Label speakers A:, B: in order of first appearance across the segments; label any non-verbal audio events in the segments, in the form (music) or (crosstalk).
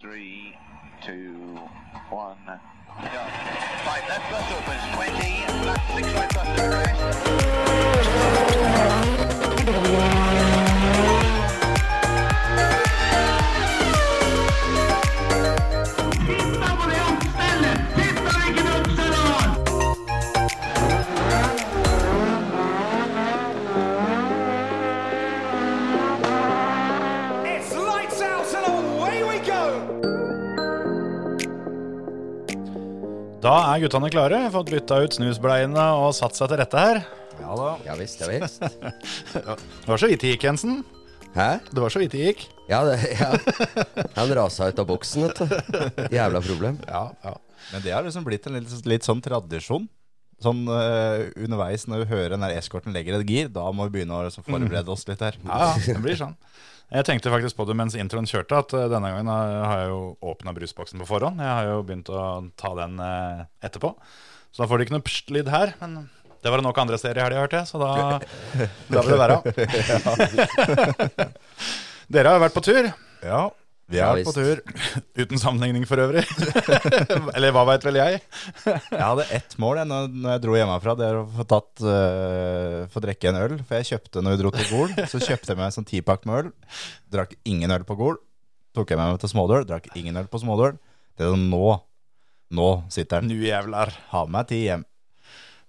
A: three, two, one, go. Five left bus opens, 20, left six right bus to arrest.
B: It's lights out and away we go!
C: Da er guttene klare, fått bytta ut snusbleiene og satt seg til rette her.
D: Ja da.
E: Ja visst, ja
D: (laughs)
E: visst.
C: Det var så vidt det gikk, Jensen.
E: Hæ?
C: Det var så vidt det gikk.
E: Ja, det, ja. Han rasa ut av boksen, vet du. Jævla problem.
D: Ja, ja. Men det har liksom blitt en litt, litt sånn tradisjon. Sånn eh, underveis når vi hører den der eskorten legger et gir, da må vi begynne å liksom forberede oss litt her.
C: (laughs) Ja, ja, det blir sånn. Jeg tenkte faktisk på det mens introen kjørte, at eh, denne gangen har har jeg jo åpna brusboksen på forhånd. Jeg har jo begynt å ta den eh, etterpå. Så da får det ikke noe pst-lyd her. Men det var det nok andre steder i helga, hørte jeg, så
D: (laughs)
C: da, da vil det være. Dere har jo vært på tur.
D: Ja, vi
E: Ja,
D: er
E: visst.
D: på tur.
C: Uten sammenligning for øvrig. (laughs) Eller hva veit vel jeg.
D: Jeg hadde ett mål jeg, når når jeg dro hjemmefra. Det er å få tatt eh, Få drikke en øl. For jeg kjøpte når vi dro til Gol, så kjøpte jeg meg en sånn tipakk med øl. Drakk ingen øl på Gol. Tok jeg med meg til Smådøl. Drakk ingen øl på Smådøl. Det er sånn nå. Nå sitter den.
C: Nu jævlar.
D: Ha med meg ti hjem.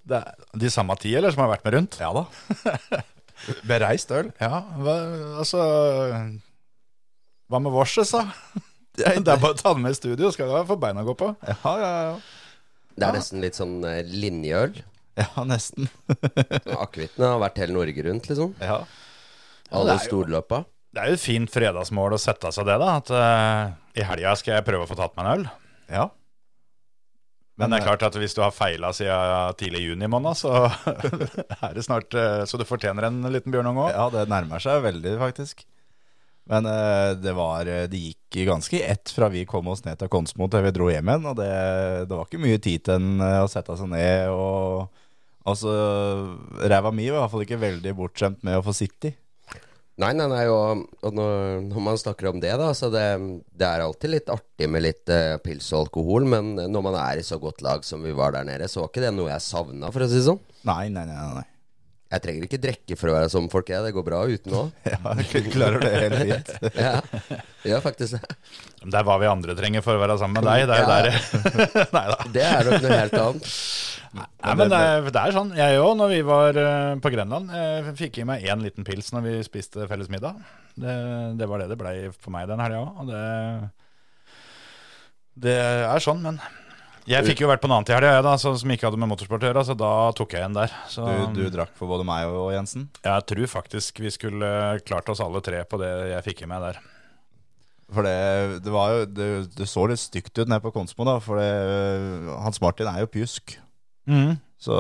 C: Det er de samme ti, eller, som har vært med rundt?
D: Ja da.
C: (laughs)
D: Bereist øl.
C: Ja, hva, altså Hva med vorset, da? Det er bare å ta den med i studio, skal du få beina å gå på.
D: Ja, ja, ja.
E: Det er nesten litt sånn eh, linjeøl.
D: Ja, nesten.
E: Akevitten har vært hele Norge rundt, liksom.
D: Ja.
C: det
E: Alle
C: er jo-
E: storløpa.
C: Det er jo et fint fredagsmål å sette seg det, da. At eh, i helga skal jeg prøve å få tatt meg en øl.
D: ja. eh,
C: Men det er klart at hvis du har feila siden tidlig juni måned, så (laughs) er det snart eh, Så du fortjener en liten bjørnunge òg.
D: Ja, det nærmer seg veldig, faktisk. Men eh, det, var, eh, det gikk ganske i ett fra vi kom oss ned til Konsmo til vi dro hjem igjen. Og det, det var ikke mye tid til en, eh, å sette seg ned og Altså, ræva mi var i hvert fall ikke veldig bortskjemt med å få sitte i.
E: Nei, nei, nei, og, og når, når man snakker om det, da, så det, det er alltid litt artig med litt eh, pils og alkohol, men eh, når man er i så godt lag som vi var der nede, så var ikke det noe jeg savna, for å si det sånn.
D: Nei, nei, nei. nei, nei.
E: Jeg trenger ikke drikke for å være som folk er, det går bra uten
D: (laughs)
E: òg.
D: Ja, jeg klarer det
C: (laughs)
D: helt fint.
E: Ja, gjør faktisk det.
C: Det er hva vi andre trenger for å være sammen med deg. Det er jo
E: Ja.
C: der (laughs) Nei da.
E: Det er nok noe helt annet.
C: Nei, men det er, det er sånn. Jeg òg, når vi var eh, på Grenland, eh, fikk i meg én liten pils når vi spiste felles middag. Det, det var det det blei for meg den helga òg, og det Det er sånn, men jeg fikk jo vært på en annen til helga, jeg, da, så, som ikke hadde med motorsport å gjøre, så da tok jeg en der. Så
D: Du, du drakk for både meg og Jensen?
C: jeg tror faktisk vi skulle klart oss alle tre på det jeg fikk i meg der.
D: For det, det var jo det, det så litt stygt ut nede på Konsmo, da. For det, øh, Hans Martin er jo pjusk.
C: Mm.
D: Så,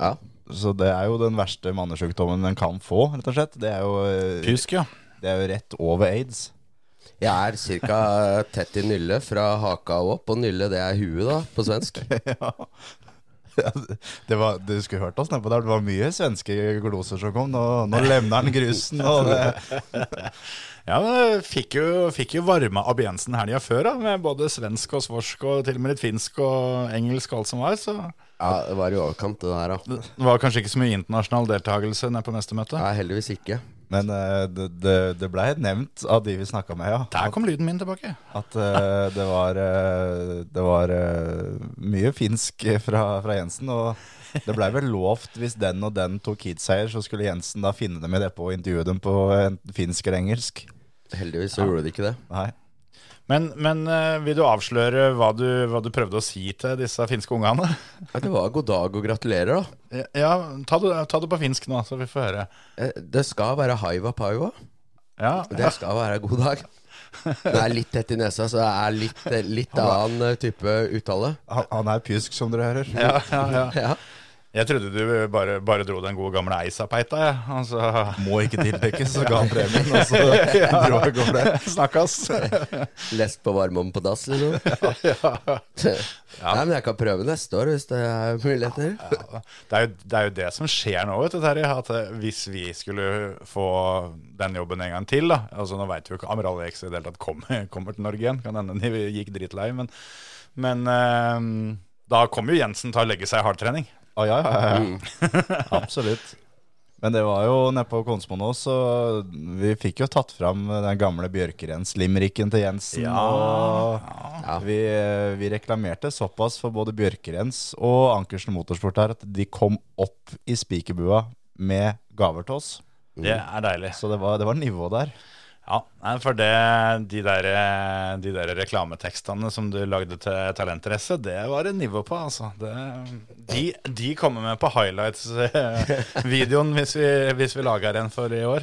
E: Ja.
D: så det er jo den verste mannesjukdommen en kan få, rett og slett. Det er jo, øh,
C: Pjusk, ja.
D: det er jo rett over aids. (laughs)
E: Jeg er ca. tett i nylle fra haka og opp, og nylle det er huet, da, på svensk.
D: Det var, du skulle hørt oss nedpå der. Det var mye svenske gloser som kom. Nå, nå levner han grusen. Og det,
C: (laughs) Ja, men fikk jo, fikk jo varma Ab Jensen helga før, da, med både svensk og svorsk og til og med litt finsk og engelsk og alt som var. Så det
E: Ja, det var i overkant, det der, da.
C: var kanskje ikke så mye internasjonal deltakelse nede på mestemøtet.
E: Nei, heldigvis ikke.
D: men eh, det, det, det blei nevnt av de vi snakka med, ja.
C: Der kom lyden min tilbake.
D: At eh, det var, eh, det var eh, mye finsk fra, fra Jensen. Og det blei vel lovt hvis den og den tok hidseier, så skulle Jensen da finne dem i det på og intervjue dem på enten finsk eller engelsk.
E: Heldigvis så gjorde de ikke det.
D: Nei.
C: Men, men eh, vil du avsløre hva du, hva du prøvde å si til disse finske ungene?
E: Ja, det var god dag og gratulerer, da.
C: Ja, ta det, ta det på finsk nå, så vi får høre.
E: Eh, Det skal være haiva paiva.
C: Ja,
E: Det skal være god dag. Det er litt tett i nesa, så det er litt, litt annen eh, type uttale.
D: Han, han er pjusk, som dere hører.
C: ja, ja, ja.
E: Ja.
C: Jeg trodde du bare, bare dro den gode gamle Eisapeita, jeg. Altså, (laughs)
D: Må ikke tildekkes, så ga han
E: (laughs)
D: premien,
E: altså,
D: og så dro jeg går der.
C: Snakkes.
E: Lest på varmeovn på dass, liksom. Nei, men jeg kan prøve neste år, hvis det er muligheter.
C: Det er, jo, det er jo det som skjer nå, vet du, Terje. At eh, hvis vi skulle få den jobben en gang til, da altså Nå veit vi jo ikke om Rally X i det hele tatt kommer, (laughs) kommer til Norge igjen. Kan hende de gikk dritlei, men, men eh, da kommer jo Jensen til å legge seg i hardtrening.
D: Å, ja, ja, ja. Absolutt. Men det var jo nede på Konsmo nå, så vi fikk jo tatt fram den gamle Bjørkerens-limericken til Jensen.
C: Ja.
D: Og vi, eh, vi reklamerte såpass for både Bjørkerens og Ankersen Motorsport her at de kom opp i spikerbua med gaver til oss.
C: Det er deilig.
D: Så det var, det var nivå der.
C: Ja, nei, for det, de, der, de der reklametekstene som du (laughs) lagde til Talentrace, det var det nivå på, altså. Det, de, de kommer med på highlights-videoen hvis, vi- hvis vi lager en for i år.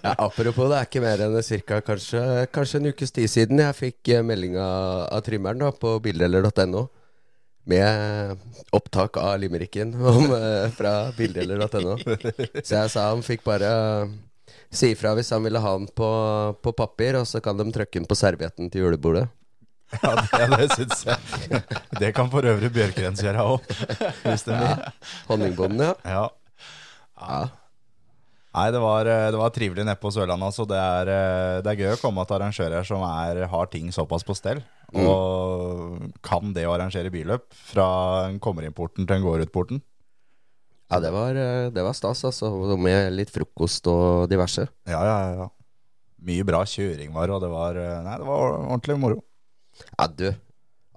E: Ja, apropos, det er ikke mer enn cirka kanskje, kanskje en ukes tid siden jeg fikk eh, melding av, av trimmeren da, på bildeler.no med opptak av limericken om, eh, fra bildeler.no. Så jeg sa han fikk bare eh, si ifra hvis han ville ha den på, på papir, og så kan de trykke den på servietten til julebordet.
D: Ja, det, det syns jeg. Det kan for øvrig Bjørkerens gjøre òg, hvis de vil.
E: Honningbommen, ja.
D: Ja.
E: ja.
D: Nei, det var, eh, det var trivelig nede på Sørlandet. Altså. Det, er, eh, det er gøy å komme til arrangører som er, har ting såpass på stell. Og kan det å arrangere billøp fra en kommer-inn-porten til en går-ut-porten.
E: Ja, det var, eh, det var stas, altså. Med litt frokost og diverse.
D: Ja, ja, ja. Mye bra kjøring var, og det var, eh, nei, det var ordentlig moro.
E: Ja, du.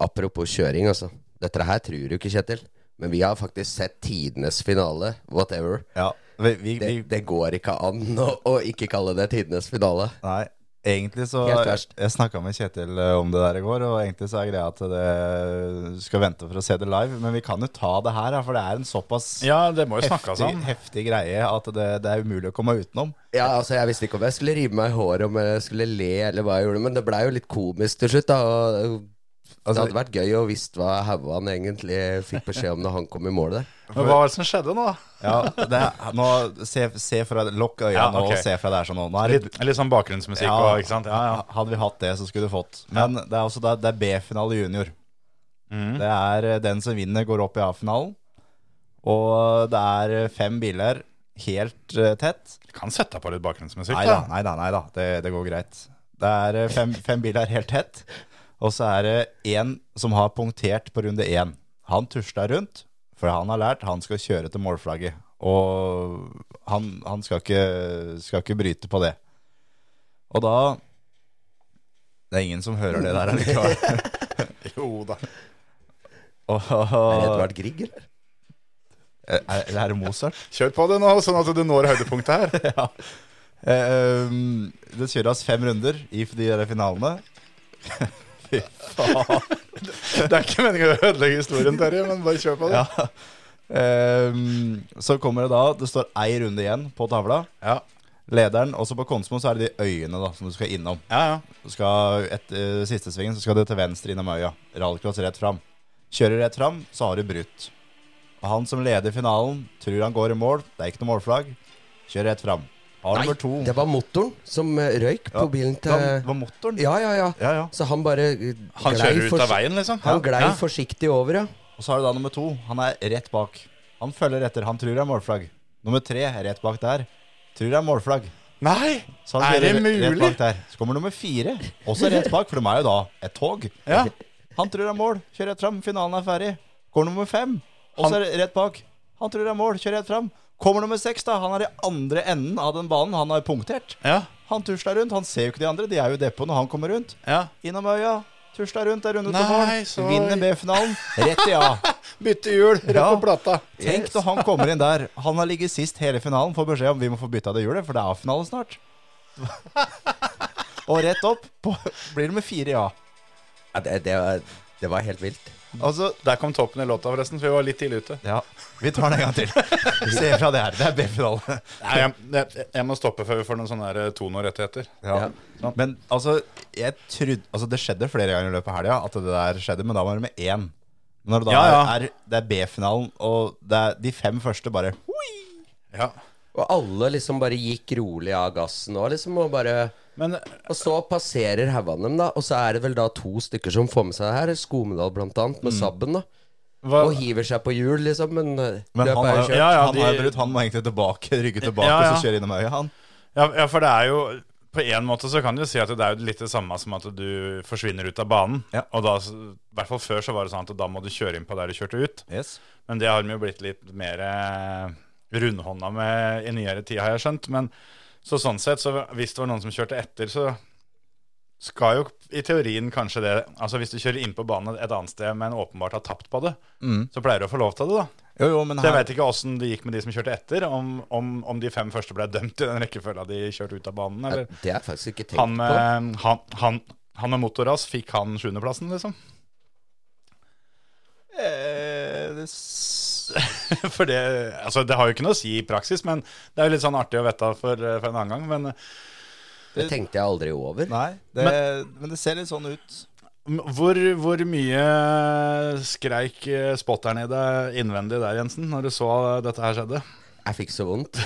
E: Apropos kjøring, altså. Dette her tror du ikke, Kjetil. Men vi har faktisk sett tidenes finale, whatever.
D: Ja, vi, vi,
E: Det,
D: vi,
E: det går ikke an å, å ikke kalle det tidenes finale.
D: Nei, egentlig så
E: Helt verst.
D: Jeg snakka med Kjetil eh, om det der i går, og egentlig så er greia at det du skal vente for å se det live. Men vi kan jo ta det her, da, for det er en såpass
C: Ja, det må jo snakkes
D: heftig,
C: om.
D: heftig greie at det, det er umulig å komme utenom.
E: Ja, altså, Jeg visste ikke om jeg skulle rive meg i håret, om jeg skulle le, eller hva jeg gjorde, men det blei jo litt komisk til slutt, da. Og det
D: Altså-
E: hadde vært gøy å visst hva Hauan egentlig fikk beskjed om når han kom i mål der.
C: Men hva var det som skjedde nå, da?
D: Ja, (laughs) det er, nå se, se fra, Lokk øynene
C: Ja, ok.
D: og se fra der sånn. Nå er det,
C: Litt, litt sånn bakgrunnsmusikk
D: Ja.
C: og ikke sant? Ja, ja.
D: Hadde vi hatt det, så skulle du fått. Men det er også det, er- det er B-finale junior.
C: Mm.
D: Det er eh, den som vinner, går opp i A-finalen. Og det er eh, fem biler helt eh, tett.
C: Kan sette på litt bakgrunnsmusikk,
D: Nei da,
C: da.
D: nei da, nei da. Det, det går greit. Det er eh, fem, fem biler helt tett. Og så er det én som har punktert på runde én. Han tusla rundt, for han har lært han skal kjøre til målflagget. Og han, han skal, ikke, skal ikke bryte på det. Og da Det er ingen som hører det der allikevel.
C: (laughs) Jo da.
E: Er det
D: Og-
E: Edvard Grieg, eller?
D: Er er det Mozart?
C: Kjør på det nå, sånn at du når høydepunktet her.
D: (laughs) ja. Eh, um, det kjøres fem runder i de der finalene. (laughs) Fy faen.
C: Det er ikke meningen å ødelegge historien, Terje, men bare kjør på det.
D: Ja. Ehm, så kommer det da Det står ei runde igjen på tavla.
C: Ja,
D: Lederen, også på Konsmo, så er det de øyene da som du skal innom.
C: ja. ja.
D: Du skal Etter siste svingen så skal du til venstre innom øya. Rallycross rett fram. Kjører du rett fram, så har du brutt. Og han som leder finalen, tror han går i mål. Det er ikke noe målflagg. Kjører rett fram. Har nummer to.
E: det var motoren som eh, røyk på
D: Ja,
E: bilen
D: det var-
E: til
D: det var motoren.
E: Ja, ja, ja.
D: Ja, ja.
E: Så han bare eh,
C: Han
E: glei
C: kjører ut
E: forsi-
C: av veien, liksom?
E: Han glei
C: ja.
E: forsiktig over, ja.
D: Og så har du da nummer to. Han er rett bak. Han følger etter. Han tror det er målflagg. Nummer tre er rett bak der. Tror det er målflagg.
C: Nei!
D: Så han
C: Er det
D: Sånn kjører Rett
C: mulig?
D: bak der. Så kommer nummer fire, også rett bak, for de er jo da et tog.
C: Ja.
D: Han tror det er mål, kjører rett fram, finalen er ferdig. Går nummer fem, også er det rett bak. Han tror det er mål, kjører rett fram. Kommer nummer seks, da. Han er i andre enden av den banen han har punktert.
C: Ja,
D: Han tusler rundt, han ser jo ikke de andre, de er jo i depot når han kommer rundt.
C: ja.
D: Innom øya, tusler rundt, er rundet
C: Nei,
D: til mål.
C: så-
D: Vinner B-finalen, rett i A.
C: Bytte hjul, (laughs) rett
D: Ja.
C: på plata.
D: Tenk når han kommer
C: (laughs)
D: inn der. Han har ligget sist hele finalen. Får beskjed om vi må få bytta det hjulet, for det er A-finale
C: (laughs)
D: snart. Og rett opp på, blir det med fire ja.
E: ja det, det, var, det var helt vilt.
D: Altså,
C: Der kom toppen i låta, forresten, for vi var litt tidlig ute.
D: ja. Vi tar den en gang
E: (laughs)
D: til. Se fra det her. Det er B-finale.
C: Nei, jeg, jeg, jeg må stoppe før vi får noen sånne her, eh, tonorettigheter.
D: Ja. Men altså, jeg trodde, altså, det skjedde flere ganger i løpet av helga at det der skjedde, men da var det med én. Når det da
C: Ja, ja.
D: Er, det er B-finalen, og det er de fem første bare hui!
C: Ja.
E: Og alle liksom bare gikk rolig av gassen og liksom og bare
C: Men eh,
E: Og så passerer haugene dem, da. Og så er det vel da to stykker som får med seg det her. Skomedal, blant annet, med sabben, da.
C: hva,
E: Og hiver seg på hjul, liksom. Men, eh,
D: Men
E: løpet
D: han har
E: er jo
D: jo
E: kjørt.
C: Ja, ja,
D: han har jo
C: de-
D: brutt, han må egentlig tilbake, rygge tilbake
C: Ja, ja.
D: og så kjøre innom øyet, han.
C: ja, ja, for det er jo På en måte så kan du si at det er jo litt det samme som at du forsvinner ut av banen.
D: Ja.
C: Og da, i hvert fall før så var det sånn at da må du kjøre inn på der du kjørte ut.
D: Yes.
C: Men det har de jo blitt litt mer eh, rundhånda med i nyere tid, har jeg skjønt. Men så sånn sett, så hvis det var noen som kjørte etter, så skal jo i teorien kanskje det Altså hvis du kjører inn på banen et annet sted, men åpenbart har tapt på det, så pleier du å få lov til det, da.
D: Jo, jo, men
C: Så jeg
D: her,
C: veit ikke åssen det gikk med de som kjørte etter, om, om, om de fem første ble dømt i den rekkefølga de kjørte ut av banen,
E: Ja,
C: eller
E: Det er faktisk ikke tenkt
C: han eh,
E: på.
C: med, han, han, han med motorras, fikk han sjuendeplassen, liksom?
D: eh, det s- (laughs)
C: For det, altså, det har jo ikke noe å si i praksis, men det er jo litt sånn artig å vite for, for en annen gang. Men
E: Det tenkte jeg aldri over.
D: Nei, det, men det ser litt sånn ut.
C: m- hvor, hvor mye skreik eh, spotteren i deg innvendig der, Jensen, når du så dette her skjedde?
E: Jeg fikk så vondt.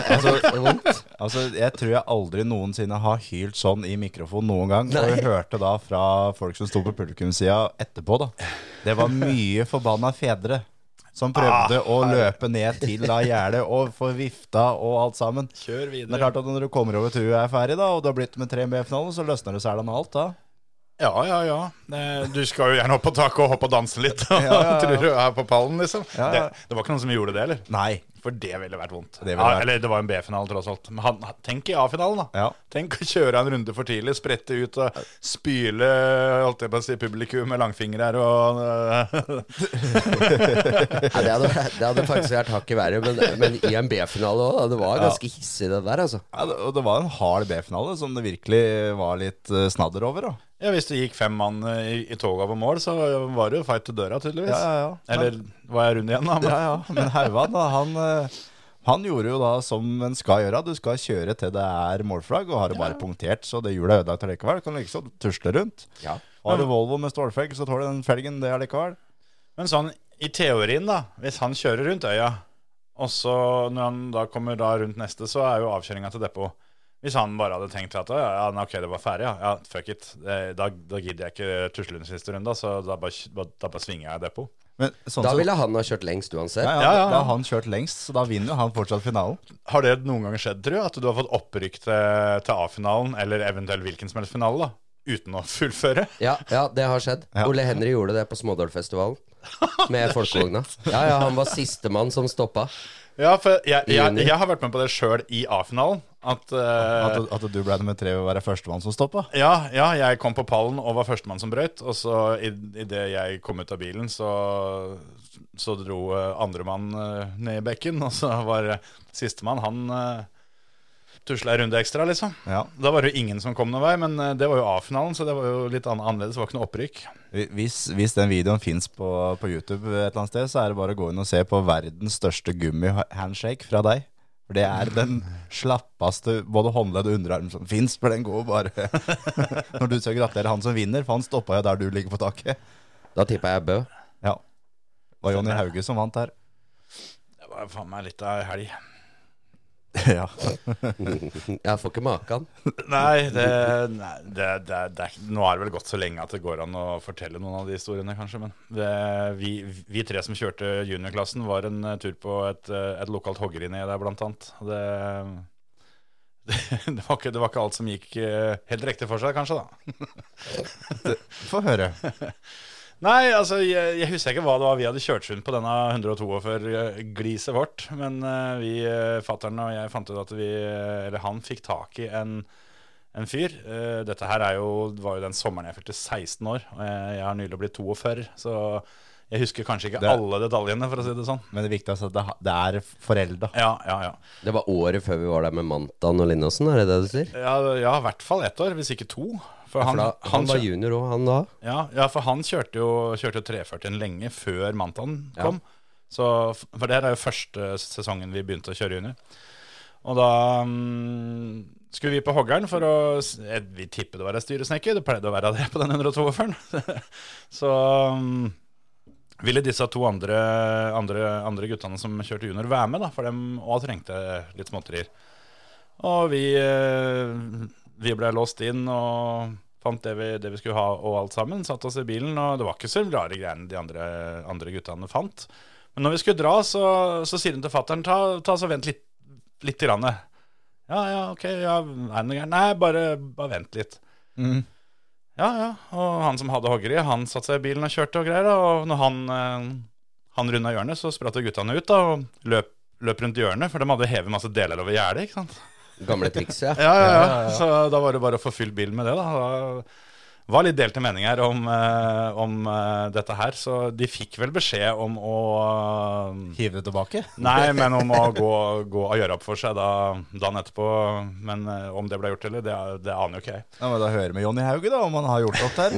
E: Altså, så vondt.
D: Altså, Jeg tror jeg aldri noensinne har hylt sånn i mikrofon noen gang. Og jeg hørte da fra folk som sto på publikumssida etterpå, da. Det var mye forbanna fedre som prøvde
C: Ah,
D: å løpe ned til da gjerdet og få vifta og alt sammen.
C: Kjør
D: Men det er klart at når du kommer over til du er ferdig, da, og du har blitt med tre med i finalen, så løsner det seg med alt, da.
C: Ja, ja, ja. Eh, Du skal jo gjerne opp på taket og hoppe og danse litt. Og (laughs) Tror du er på pallen, liksom.
D: Ja, ja.
C: Det, det var ikke noen som gjorde det, eller?
D: Nei.
C: For det ville vært vondt.
D: Det ville
C: ja,
D: vært-
C: Eller det var en B-finale, tross alt. Men han, tenk i A-finalen, da.
D: Ja.
C: Tenk å kjøre en runde for tidlig, sprette ut og spyle holdt jeg på å si, publikum med langfingre her og eh,
E: Ja, det, hadde, vært- det hadde faktisk vært hakket verre. Men, men i en B-finale òg, det var ganske hissig, det der, altså.
D: Ja, det, og det var en hard B-finale som det virkelig var litt eh, snadder over, da.
C: (laughs) Ja, Hvis det gikk fem mann eh, i, i toget over mål, så var det jo fight til døra, tydeligvis.
D: ja.
C: Eller var jeg rund igjen, da? Men,
D: Ja, ja, men Haugan da, han, eh, han gjorde jo da som en skal gjøre. Du skal kjøre til det er målflagg, og har det bare punktert, så det hjulet er ødelagt allikevel. Kan liksom tusle rundt.
E: Ja.
D: Har du Volvo med stålfelg, så tåler den felgen det allikevel.
C: men sånn i teorien, da. Hvis han kjører rundt øya, og så når han da kommer da rundt neste, så er jo avkjøringa til depot. Hvis han bare hadde tenkt at «Å, ja, ja, nei, ok, det var ferdig, ja, ja fuck it. Det- Da, da gidder jeg ikke tusle den siste runden, da, så da bare, da bare svinger jeg i depot.
D: Men sånn
E: Da
D: som-
E: ville han ha kjørt lengst uansett.
D: ja, ja,
C: Ja, ja, ja.
D: Da har han kjørt lengst, så da vinner jo han fortsatt finalen.
C: Har det noen gang skjedd, tror jeg, at du har fått opprykk til, til A-finalen, eller eventuelt hvilken som helst finale, da, uten å (laughs) fullføre?
E: Ja, ja, det har skjedd. Ole Henry gjorde det på Smådalfestivalen. (laughs) Med folkevogna. Ja, ja, han var sistemann som stoppa.
C: Ja, for jeg, jeg,
E: Enig.
C: jeg har vært med på det sjøl i A-finalen. At, eh,
D: At, at du ble nummer tre og være førstemann som stoppa.
C: ja, ja, jeg kom på pallen og var førstemann som brøyt. Og så idet jeg kom ut av bilen, så, så dro eh, andremann eh, ned i bekken. Og så var eh, sistemann, han uh, tusla en runde ekstra, liksom.
D: Ja.
C: Da var det jo ingen som kom noen vei, men eh, det var jo A-finalen, så det var jo litt an annerledes. Det var ikke noe opprykk.
D: Hvis, hvis den videoen fins på, på YouTube et eller annet sted, så er det bare å gå inn og se på verdens største gummihandshake fra deg. For det er den slappeste både håndledd og underarm som fins, for den går bare (laughs) Når du skal gratulere han som vinner, for han stoppa jo der du ligger på taket.
E: Da tippa jeg Bø.
D: Ja. Det var Jonny Hauge som vant her.
C: Det var faen meg litt av ei helg.
D: Ja.
E: Jeg får ikke maken.
C: Nei, det, nei det, det, det, er ikke- Nå har det vel gått så lenge at det går an å fortelle noen av de historiene, kanskje. Men det, vi, vi tre som kjørte juniorklassen, var en eh, tur på et, eh, et lokalt hoggeri nede der, blant annet. Og Det, (laughs) det, det, var ikke, det var ikke alt som gikk eh, helt riktig for seg, kanskje, da.
D: Få høre.
C: (laughs) Nei, altså, jeg, jeg husker ikke hva det var vi hadde kjørt rundt på denne 142-gliset vårt. Men eh, vi, eh, fatteren og jeg fant ut at vi, eh, eller han fikk tak i en, en fyr. Eh, dette her er jo, var jo den sommeren jeg fylte 16 år, og jeg, jeg har nylig blitt 42. Så jeg husker kanskje ikke
D: Det-
C: alle detaljene, for å si det sånn.
D: Men det viktigste er altså at det, ha- det er forelda.
C: Ja, ja, ja.
E: Det var året før vi var der med Mantan og Linnåsen, er det det du sier?
C: Ja, ja, i hvert fall ett år, hvis ikke to. For
E: For
C: han,
E: da,
C: han,
E: han var
C: kjø-
E: junior òg, han da.
C: Ja, ja for han kjørte jo, kjørte jo 340 lenge før Mantan
E: Ja.
C: kom. Så, for det her er jo første sesongen vi begynte å kjøre junior. Og da mm, skulle vi på Hoggern for å s- jeg, Vi tippet (laughs) det var ei styresnekker. Det pleide å være det på den 142-eren. så mm, Ville disse to andre, andre, andre guttene som kjørte junior, være med, da? For dem òg trengte litt småtterier. Og vi, eh, vi ble låst inn og fant det vi, det vi skulle ha og alt sammen. Satt oss i bilen, og det var ikke så rare greiene de andre, andre guttene fant. Men når vi skulle dra, så, så sier hun til fattern ta, ta så vent litt, litt grann. Ja, ja, ok, ja, er det noe gærent? Nei, bare, bare vent litt. Ja, ja. Og han som hadde hoggeri, han satte seg i bilen og kjørte og greier. da, Og når han, eh, han runda hjørnet, så spratt jo guttene ut da, og løp, løp rundt hjørnet, for de hadde hevet masse deler over gjerdet. ikke sant?
E: Gamle (laughs) trikset.
C: Ja, ja, ja, Så da var det bare å få fylt bilen med det, da. Det var litt delte meninger om, eh, om eh, dette her, så de fikk vel beskjed om å
D: Hive det tilbake?
C: Nei, men om å gå, gå og gjøre opp for seg da, dagen etterpå. Men eh, om det ble gjort eller, det, det aner jo ikke jeg.
D: Ja, men Da hører vi Jonny Hauge, da, om han har gjort opp der.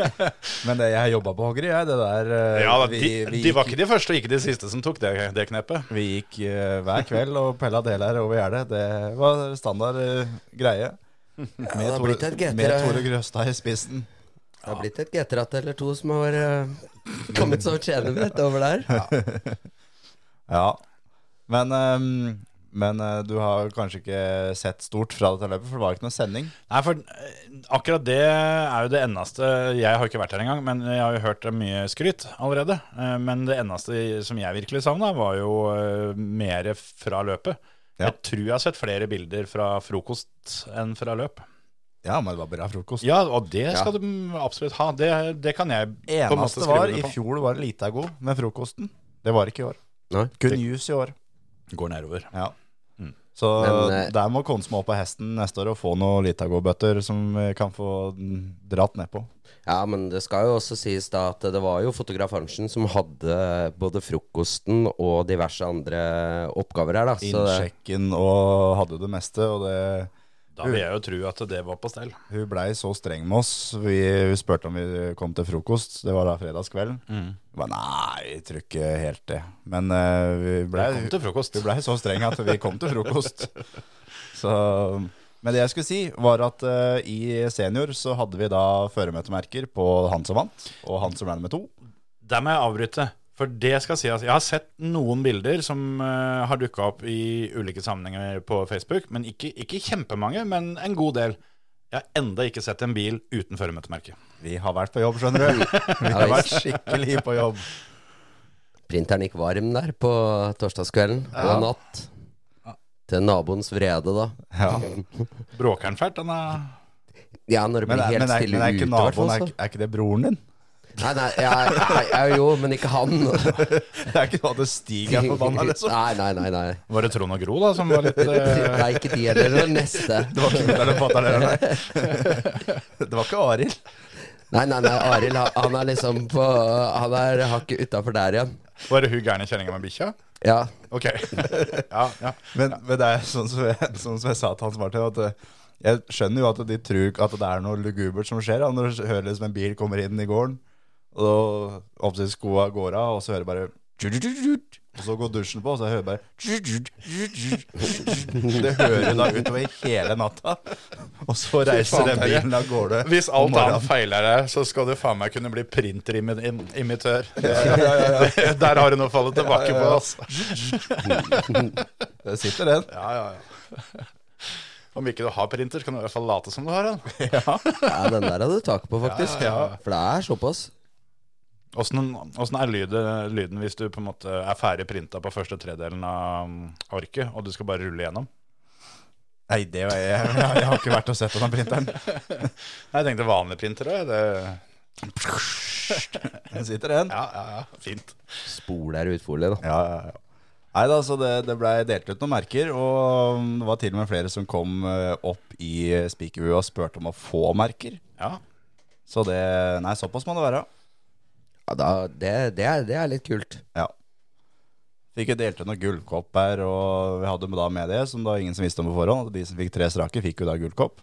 D: (laughs) men det, jeg jobba på hoggeri, jeg. Det der eh,
C: Ja, da, de,
D: vi, vi,
C: de var
D: gikk,
C: ikke de første, og ikke de siste som tok det, det knepet.
D: vi gikk eh, hver kveld og pella deler over gjerdet. Det var standard eh, greie. Med,
E: det har blitt et
D: Tore,
E: GTR.
D: med Tore Grøstad i spissen.
E: Det har blitt et G-tratt eller to som har eh, kommet så tjenende litt over der.
D: Ja. Men, eh, men eh, du har kanskje ikke sett stort fra dette løpet, for det var ikke noe sending.
C: Nei, for eh, akkurat det er jo det eneste Jeg har ikke vært her engang, men jeg har jo hørt mye skryt allerede. Eh, Men det eneste som jeg virkelig savna, var jo eh, mer fra løpet.
D: Ja.
C: Jeg tror jeg har sett flere bilder fra frokost enn fra løp.
D: Ja, men det var bra frokost.
C: Ja, og det skal du absolutt ha. Det, det kan jeg på en måte
D: Eneste
C: skrive
D: var,
C: under
D: i
C: på.
D: fjor var det lite av god med frokosten. Det var ikke i år.
E: Nei.
D: Kun juice i år.
C: Går nedover.
D: Ja. Så
E: Men, eh,
D: der må Konsmo opp av hesten neste år og få noen Litago-bøtter som vi kan få mm, dratt nedpå.
E: Ja, men det skal jo også sies da at det var jo fotograf Arntzen som hadde både frokosten og diverse andre oppgaver her, da. Så det,
D: Innsjekken og hadde det meste. Og det,
C: Da vil jeg jo tro at det var på stell.
D: hun blei så streng med oss. Vi, hun spurte om vi kom til frokost. Det var da fredagskvelden.
E: Mm.
D: Vi ba, nei, vi tror ikke helt det. Men eh, vi blei
C: Jeg kom til frokost.
D: Du blei så streng at vi kom til
E: (laughs)
D: frokost. Så, men det jeg skulle si, var at eh, i senior så hadde vi da føremøtemerker på han som vant, og han som ble nummer to.
C: Der må jeg avbryte. For det skal si at Jeg har sett noen bilder som eh, har dukka opp i ulike sammenhenger på Facebook. Men ikke, ikke kjempemange, men en god del. Jeg har enda ikke sett en bil uten føremøtemerke.
D: Vi har vært på jobb, skjønner
E: (laughs)
D: du. Vi har vært skikkelig på jobb.
E: printeren gikk varm der på torsdagskvelden og natt. Til naboens vrede, da.
D: Ja.
C: Bråker den fælt? Den er
E: Ja, når det
D: Men,
E: blir
D: er-
E: helt
D: men er,
E: stille
D: men er ikke
E: ute, i
D: naboen
E: hvert
D: er,
E: fall. så.
D: ikke- er ikke det broren din?
E: Nei, nei, jeg, jeg, jeg, jo, men ikke
D: (laughs)
E: han.
D: Det er ikke noe at det
C: (laughs)
D: stiger er forbanna, liksom.
E: Nei, nei, nei.
D: (laughs)
E: nei.
C: Var det Trond og Gro da som var litt eh,
E: Nei, ikke de heller. Det var neste.
D: Det var ikke mutter'n og fatter'n heller,
C: (laughs)
D: nei. Det var ikke Arild.
E: Nei, nei, nei. Arild, han- han er liksom på Han er hakket utafor der igjen.
C: Var det hun gærne kjerringa med bikkja?
E: Ja.
C: Ok. Ja, ja.
D: Men, men det er sånn som, jeg, sånn som jeg sa til Hans Martin, at eh, jeg skjønner jo at de tror at det er noe lugubert som skjer. da, Når du hører liksom en bil kommer inn i gården, og oppsett skoa går av, og så hører du bare tjut-tjut-tjut, Og så går dusjen på, og så hører du bare tjut-tjut-tjut-tjut. Det hører du da utover hele natta. Og så reiser
C: faen,
D: den
C: Terje.
D: bilen av gårde.
C: Hvis alt
D: om morgenen.
C: annet feiler deg, så skal du faen meg kunne bli printerimitør. (laughs) Der har du noe å falle tilbake på. Altså.
D: Der sitter den.
C: Ja, ja, ja. Om ikke du har printer, så kan du i hvert fall late som du har den.
E: Ja, den der hadde du tak på, faktisk. For det er såpass.
C: Åssen åssen er lyden, lyden hvis du på en måte er ferdig printa på første tredelen av mm, arket, og du skal bare rulle gjennom?
D: Nei, det var jeg, jeg, jeg har ikke vært og sett på den printeren.
C: Jeg tenkte vanlig printer òg.
D: Der sitter den.
C: Ja, ja, ja. Fint.
E: Spol er utfolie, da.
D: Ja, ja, ja. Nei da, så det, det blei delt ut noen merker, og det var til og med flere som kom eh, opp i spikerhuet og spurte om å få merker.
C: Ja.
D: Så det Nei, såpass må det være.
E: Ja, da det, det, er, det er litt kult.
D: Ja. Fikk jo delt ut noen gullkopper, og vi hadde da med det, som da ingen som visste om på forhånd. at De som fikk tre strake, fikk jo da gullkopp.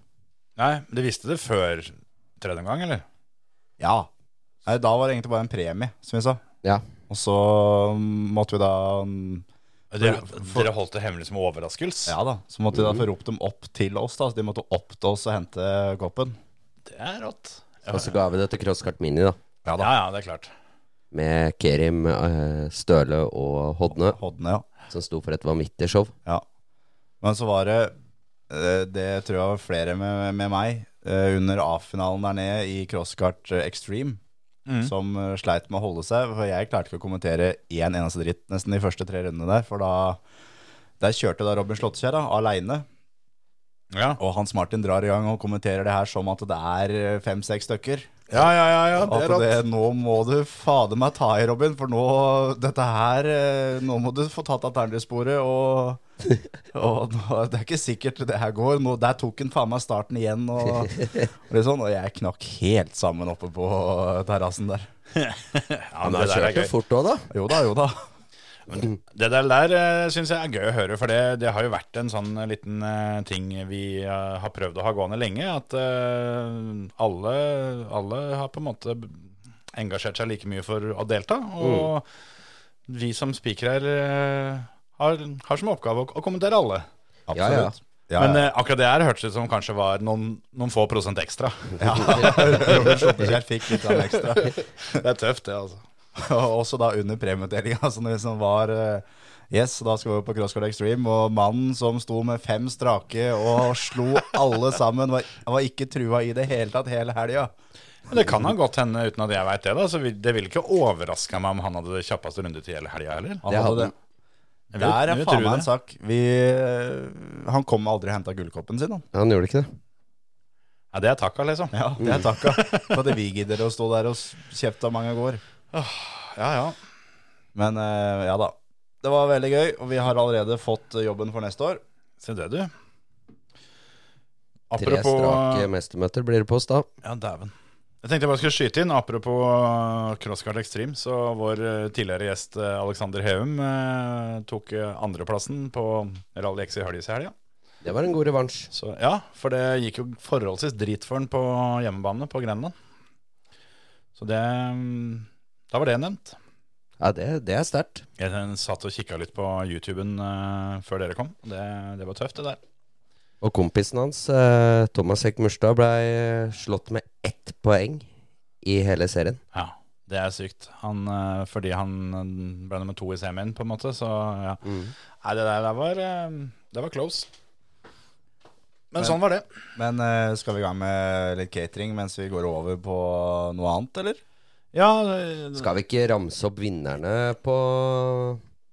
C: Nei, men de visste det før tredje omgang, eller?
D: Ja. Nei, da var det egentlig bare en premie, som vi sa.
E: Ja.
D: Og så mm, måtte vi da mm,
C: Dere, dere holdt det hemmelig som overraskelse?
D: Ja da, så måtte vi da få ropt dem opp til oss, da. Så de måtte opp til oss og hente koppen.
C: Det er rått. Ja,
E: Og så ga vi det til Crosskart Mini, da.
C: ja, ja, det er klart.
E: med Kerim, eh, Støle og Hodne,
D: Hodne, ja.
E: som sto for et vanvittig show.
D: Ja. Men så var det eh, Det tror jeg var flere med, med meg eh, under A-finalen der nede i crosskart eh, Extreme. Som eh, sleit med å holde seg. For jeg klarte ikke å kommentere én eneste dritt nesten de første tre rundene der. For da der kjørte da Robin Slottkjær da, aleine.
C: Ja.
D: Og Hans Martin drar i gang og kommenterer det her som at det er fem-seks stykker.
C: ja, ja, ja, ja, det
D: At
C: er
D: det,
C: rått.
D: nå må du fader meg ta i, Robin, for nå Dette her eh, Nå må du få tatt alternativsporet, og, og nå, Det er ikke sikkert det her går. Nå, der tok han faen meg starten igjen, og, og det er sånn. Og jeg knakk helt sammen oppe på terrassen der.
C: Ja,
E: Men han kjørte fort òg, da.
D: Jo da, jo da.
C: Det der, der syns jeg er gøy å høre, for det, det har jo vært en sånn liten eh, ting vi eh, har prøvd å ha gående lenge. At eh, alle, alle har på en måte engasjert seg like mye for å delta. Og
D: Mm.
C: vi som spikere eh, har, har som oppgave å, å kommentere alle.
E: Ja, ja.
D: Ja,
C: Men
D: ja.
C: eh, akkurat det her hørtes ut som kanskje var noen, noen få prosent
D: (laughs)
C: ekstra.
D: Robin Slottekjær fikk litt sånn ekstra.
C: (laughs) Det er tøft, det, altså.
D: Og Også da under premieutdelinga, som det liksom var eh, Yes, da skal vi på Crosscourt Extreme. Og mannen som sto med fem strake og slo alle sammen, var, han var ikke trua i det hele tatt hele helga.
C: Men det kan ha godt hende uten at jeg veit det. da Så vi- Det ville ikke overraska meg om han hadde det kjappeste rundetid hele helga heller.
D: Det
E: hadde
D: det. Der er faen meg en sak. Vi, eh, han kom aldri og henta gullkoppen sin, han.
E: Han gjorde ikke det.
C: Ja, det er takka, liksom.
D: Ja, det er
C: (laughs)
D: takka for at vi gidder å stå der og s- kjefte av mange går.
C: Ja, ja.
D: Men eh, ja da. Det var veldig gøy, og vi har allerede fått eh, jobben for neste år.
C: Se det, du.
E: Tre strake
C: Apropos
E: mestermøter blir det på oss da.
C: Ja, dæven. Jeg tenkte jeg bare skulle skyte inn. Apropos eh, Crosscard Extreme, så vår eh, tidligere gjest eh, Alexander Heum eh, tok eh, andreplassen på Rally X i Høljes i helga.
E: Det var en god revansj.
C: Så ja, for det gikk jo forholdsvis drit for han på hjemmebane på Grenland. Så det mm, Da var det nevnt.
E: Ja, det, det er sterkt.
C: Jeg eh, satt og kikka litt på YouTuben eh, før dere kom. Det, det var tøft, det der.
E: Og kompisen hans, eh, Thomas Hekk Murstad, blei slått med ett poeng i hele serien.
C: Ja, det er sykt. Han, eh, fordi han mm, ble nummer to i semien, på en måte, så ja.
E: Mm.
C: Nei, det der, der var eh, Det var close. Men, sånn var det.
D: Men eh, skal vi i gang med litt catering mens vi går over på noe annet, eller?
C: Ja, eh,
E: Skal vi ikke ramse opp vinnerne på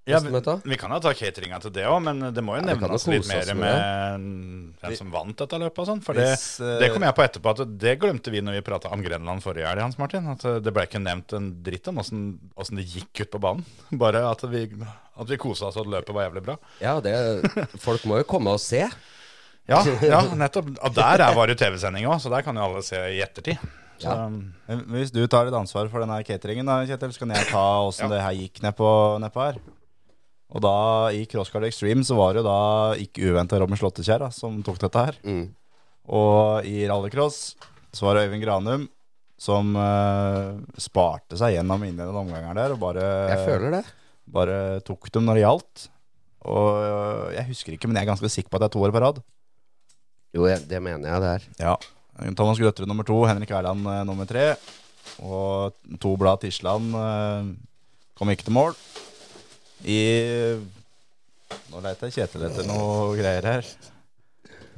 C: ja vi,
E: mestermøta?
C: vi kan jo ta cateringa til det òg, men det må jo
E: Ja, vi kan
C: nevnes
E: jo
C: litt
E: kose
C: mer
E: oss med
C: med hvem som vant dette løpet og sånn. For det,
D: Hvis, eh,
C: det kom jeg på etterpå, at det glemte vi når vi prata om Grenland forrige helg, Hans Martin. At eh, det ble ikke nevnt en dritt om åssen åssen det gikk ut på banen. (laughs) Bare at vi, at vi kosa oss og at løpet var jævlig bra.
E: Ja, det, (laughs) folk må jo komme og se.
C: Ja, ja nettopp. Og der er var det TV-sending òg, så der kan jo alle se i ettertid. Så,
E: Ja.
D: Men Hvis du tar litt ansvar for denne cateringen, da, Kjetil, så kan jeg ta åssen det her gikk nedpå ned her. Og da i Crosscard Extreme så var det jo da ikke uventa Robin Slåttekjær da, som tok dette her. Og i rallycross så var det Øyvind Granum som eh, sparte seg gjennom innledende omganger der og bare,
E: Jeg føler det.
D: bare tok dem når det gjaldt. Og eh, jeg husker ikke, men jeg er ganske sikker på at det er to år på rad.
E: Jo, jeg, det mener jeg det er.
D: Ja. Thomas Grøtterud nummer to, Henrik Erland eh, nummer tre. Og to blad Tisland eh, kom ikke til mål. I Nå leter Kjetil etter noe greier her.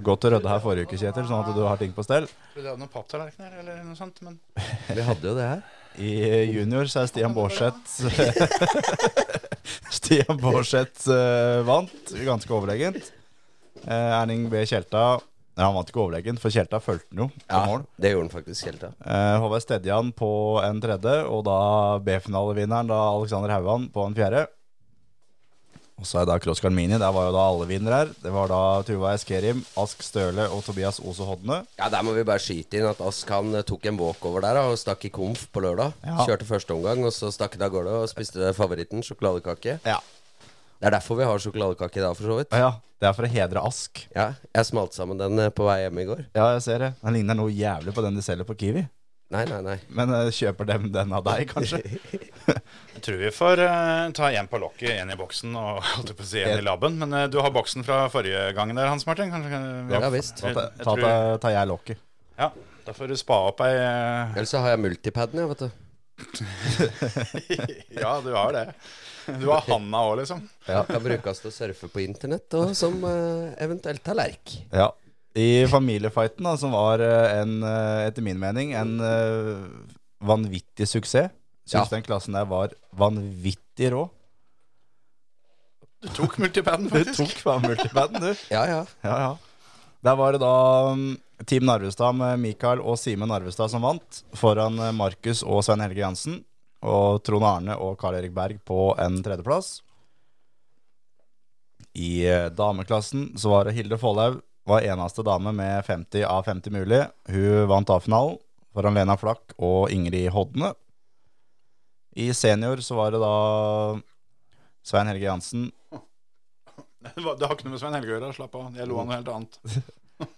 D: Gå til Rødde her forrige uke, Kjetil, sånn at du har ting på stell.
C: Tror du det er noen papptallerkener eller noe sånt? Men
E: Vi hadde jo det her.
D: I junior så er Stian Bårdseth (laughs) Stian Bårdseth eh, vant, ganske overlegent. Eh, Erling B. Kjelta Nei, han vant ikke overlegent, for Kjelta fulgte han jo til mål.
E: Det gjorde han faktisk hele tida.
D: Eh, Håvard Stedjan på en tredje, og da B-finalevinneren, da Alexander Haugan, på en fjerde. Og så er da Crosscar Mini, der var jo da alle vinnere her. Det var da Tuva Eskerim, Ask Støle og Tobias Ose Hodne.
E: Ja, Der må vi bare skyte inn at Ask han eh, tok en walkover der da, og stakk i komf på lørdag.
D: Ja.
E: Kjørte første omgang, og så stakk han av gårde og spiste favoritten, sjokoladekake.
D: Ja.
E: Det er derfor vi har sjokoladekake i dag, for så vidt.
D: ja. Det er for å hedre Ask.
E: Ja, Jeg smalt sammen den eh, på vei hjemme i går.
D: Ja, jeg ser det. Den ligner noe jævlig på den de selger på Kiwi.
E: Nei, nei, nei.
D: Men eh, kjøper dem den av deg, (laughs) kanskje?
C: (laughs) Jeg tror vi får eh, ta én på lokket, én i boksen og (laughs) holdt jeg på å si én i laben. Men eh, du har boksen fra forrige gang der, Hans Martin? Kanskje, kan-
E: Ja, visst.
D: Da
C: Jeg,
D: ta-
C: jeg
D: ta-
C: tror,
D: ta- tar jeg lokket.
C: ja, da får du spa opp ei eh, (laughs)
E: Ellers så har jeg multipaden, jeg, vet du.
C: ja, du har det. Du har handa òg, liksom.
E: Ja, kan brukes til å surfe på internett og som eh, eventuelt tallerk.
D: Ja. I familiefighten, da, som var eh, en, eh, etter min mening, en eh, vanvittig suksess. Syns den klassen der var vanvittig rå.
C: Du tok multipaden,
D: Du
C: faktisk.
D: tok faen multipaden, du.
E: Ja, ja.
D: Ja, ja. Der var det da mm, Team Narvestad med Mikael og Simen Narvestad som vant, foran eh, Markus og Svein Helge Jansen. Og Trond Arne og Karl Erik Berg på en tredjeplass. I eh, dameklassen så var det Hilde Follhaug var eneste dame med 50 av 50 mulig. Hun vant A-finalen foran Lena Flakk og Ingrid Hodne. I senior så var det da Svein Helge Jansen
C: Det var- Det har ikke noe med Svein Helge å gjøre. Slapp av. Jeg lo av noe helt annet.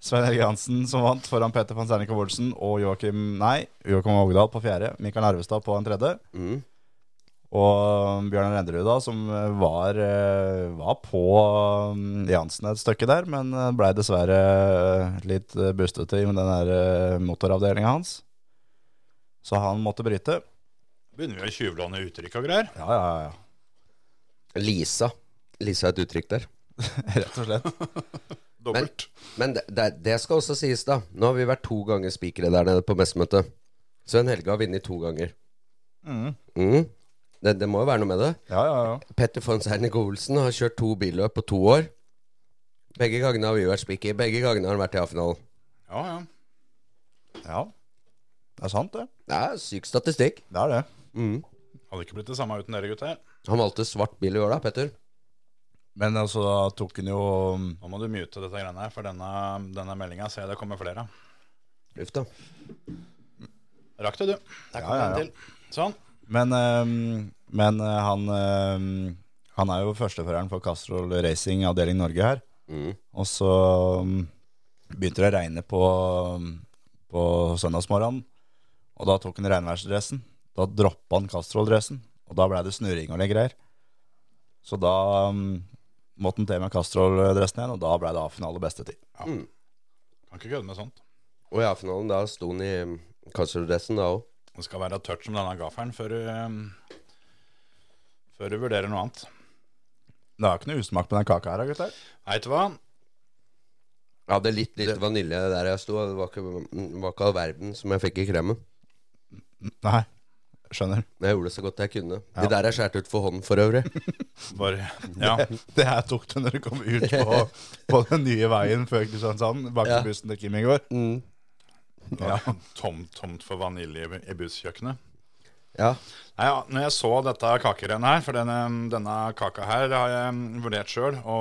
D: Svein Helge Hansen som vant foran Peter van Sternik Olsen og Joakim Nei, Joakim Vågedal på fjerde. Mikael Narvestad på en tredje.
E: Mm.
D: Og um, Bjørnar Enderud, da, som uh, var, eh, var på eh, Jansen et stykke der, men blei dessverre eh, litt eh, bustete i den der motoravdelinga hans. Så han måtte bryte.
C: Begynner vi å tjuvlåne uttrykk og greier?
D: Ja, ja, ja.
E: Lisa. Lisa er et uttrykk der.
D: (laughs) Rett og slett.
C: Dobbelt.
E: Men det, det, det skal også sies, da. Nå har vi vært to ganger spikere der nede på messemøtet. Svein Helge har vunnet to ganger. Mm. Det, det må jo være noe med det.
D: Ja, ja, ja.
E: Petter von Sernik Olsen har kjørt to billøp på to år. Begge gangene har vi vært spiker. Begge gangene har han vært i A-finalen.
C: Ja, ja.
D: ja. Det er sant, det.
E: Det er syk statistikk.
D: Det er det.
E: Mm.
C: Hadde ikke blitt det samme uten dere, gutter.
E: Han valgte svart bil i år, da, Petter.
D: Men altså, da tok han jo um,
C: Nå må du mute dette greiene her, for denne, denne meldinga ser jeg det kommer flere av.
E: Uff da.
C: Rakk det, du. Der kom
D: Ja, ja,
C: den
D: ja.
C: til. Sånn.
D: Men, ehm, men eh, han, ehm, han er jo førsteføreren for Castrol Racing avdeling Norge her.
E: Mm.
D: Og så mm, begynte det å regne på, ehm, på søndagsmorgenen. Og da tok han regnværsdressen. Da droppa han Castrol-dressen. Og da blei det snurring og litt greier. Så da mm, måtte han til med Castrol-dressen igjen, og da blei det A-finale beste tid.
C: Kan ikke kødde med sånt.
E: Og i A-finalen da sto han i Kastrup-dressen da òg.
C: Det skal være tørt som denne gaffelen før du ehm, Før du vurderer noe annet.
D: Det er jo ikke noe usmak på den kaka her, da, gutter.
C: Nei, vet du hva?
E: Jeg hadde litt lite vanilje der jeg sto. og Det var ikke, mm, det var ikke all verden som jeg fikk i kremen.
D: Nei. Skjønner.
E: Men jeg gjorde det så godt jeg kunne. De der er skåret ut for hånden for øvrig.
D: (laughs)
C: Bare Ja.
D: Det her tok du når du kom ut på,
C: (laughs)
D: på den nye veien før Kristiansand, bak
E: Ja.
D: i bussen til Kim i går.
C: det var Tomt, tomt for vanilje i- i busskjøkkenet.
E: Ja.
C: Nei, (laughs) ja, når jeg så dette kakerennet her, for denne, denne kaka her har jeg mm, vurdert sjøl å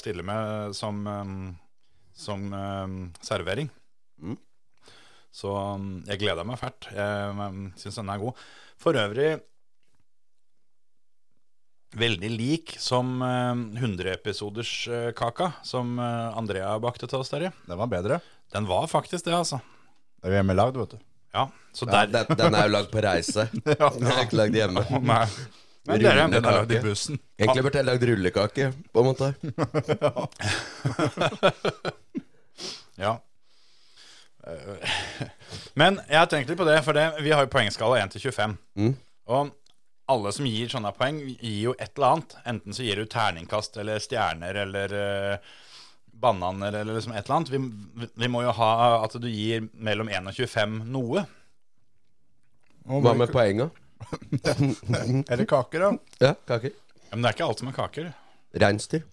C: stille med som, um, som um, servering.
D: Mm.
C: Så um, jeg gleder meg fælt. Jeg um, syns denne er god. For øvrig veldig lik som um, 100-episoderskaka som uh, Andrea bakte til oss, Terje.
D: Den var bedre.
C: Den var faktisk det, altså.
D: Det var hjemmelagd, vet du.
C: Ja, så
E: Ja,
C: der
E: den, den er jo lagd på
C: (laughs)
E: reise. Den er ikke lagd hjemme.
C: Nei. Men dere,
E: Runde
C: den er lagd i
E: kake.
C: bussen.
E: Egentlig burde jeg lagd rullekake, på en måte.
C: Ja. Eh, (laughs) Men jeg tenkte litt på det, for det, vi har jo poengskala 1 til 25. Og alle som gir sånne poeng, gir jo et eller annet. Enten så gir du terningkast eller stjerner eller eh, bananer eller liksom et eller annet. Vi, vi må jo ha at du gir mellom 1 og 25 noe.
E: Hva med poenga?
D: Eller kaker, da.
E: Ja, kaker.
C: Men det er ikke alt som er kaker.
E: Reinsdyr.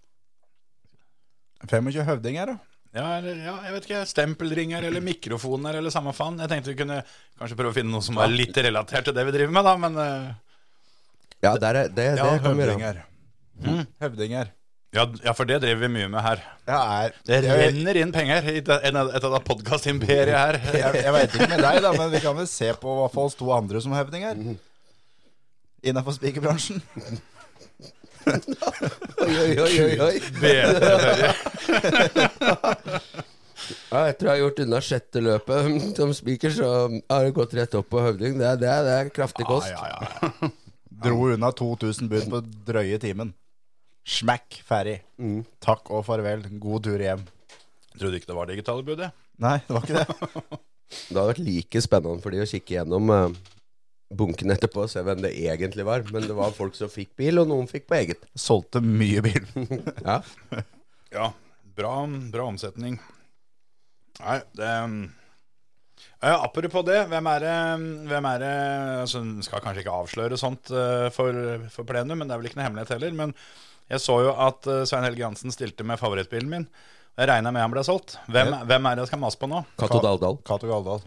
D: 25 høvdinger, da.
C: Ja, eller, ja, jeg vet ikke, stempelringer eller mikrofoner eller samme faen. Jeg tenkte vi kunne kanskje prøve å finne noe som var litt relatert til det vi driver med, da, men eh,
E: Ja, Mm. der er, det, det kan vi gjøre.
D: høvdinger. Høvdinger.
C: ja, d- ja, for det driver vi mye med her.
D: Jeg er
C: Det
D: jeg,
C: renner inn penger i det- en av- et av det podkastimperiet
D: (laughs)
C: her.
D: jeg, jeg veit ikke med deg, da, men vi kan vel se på i hvert fall oss to andre som høvdinger. Innafor spikerbransjen.
E: Oi, oi, oi, oi, oi.
C: Bedre.
E: Ja, etter å ha gjort unna sjette løpet (laughs) som spiker, så har det gått rett opp på høvding. Det, er- det, er- det er en kraftig kost.
D: ja, ja. Dro unna 2000 bud på drøye timen. Smack, ferdig. Takk og farvel. God tur hjem.
C: Trodde ikke det var digitale budet.
D: Nei, det (laughs) var ikke det.
E: Det har vært like spennende for de å kikke gjennom eh, bunken etterpå og se hvem det egentlig var. Men det var folk som fikk bil, og noen fikk på eget.
D: Solgte mye bil.
E: Ja.
C: Ja, bra, bra omsetning. Nei, det um, ja, Apropos det, hvem er det, um, hvem er det altså, en Skal kanskje ikke avsløre sånt eh, for, for plenum, men det er vel ikke noe hemmelighet heller. Men jeg så jo at eh, Svein Helge Hansen stilte med favorittbilen min. Jeg regna med han ble solgt. Hvem, hvem er det jeg skal mase på nå?
E: Cato Daldal.
D: Cato Galdhall.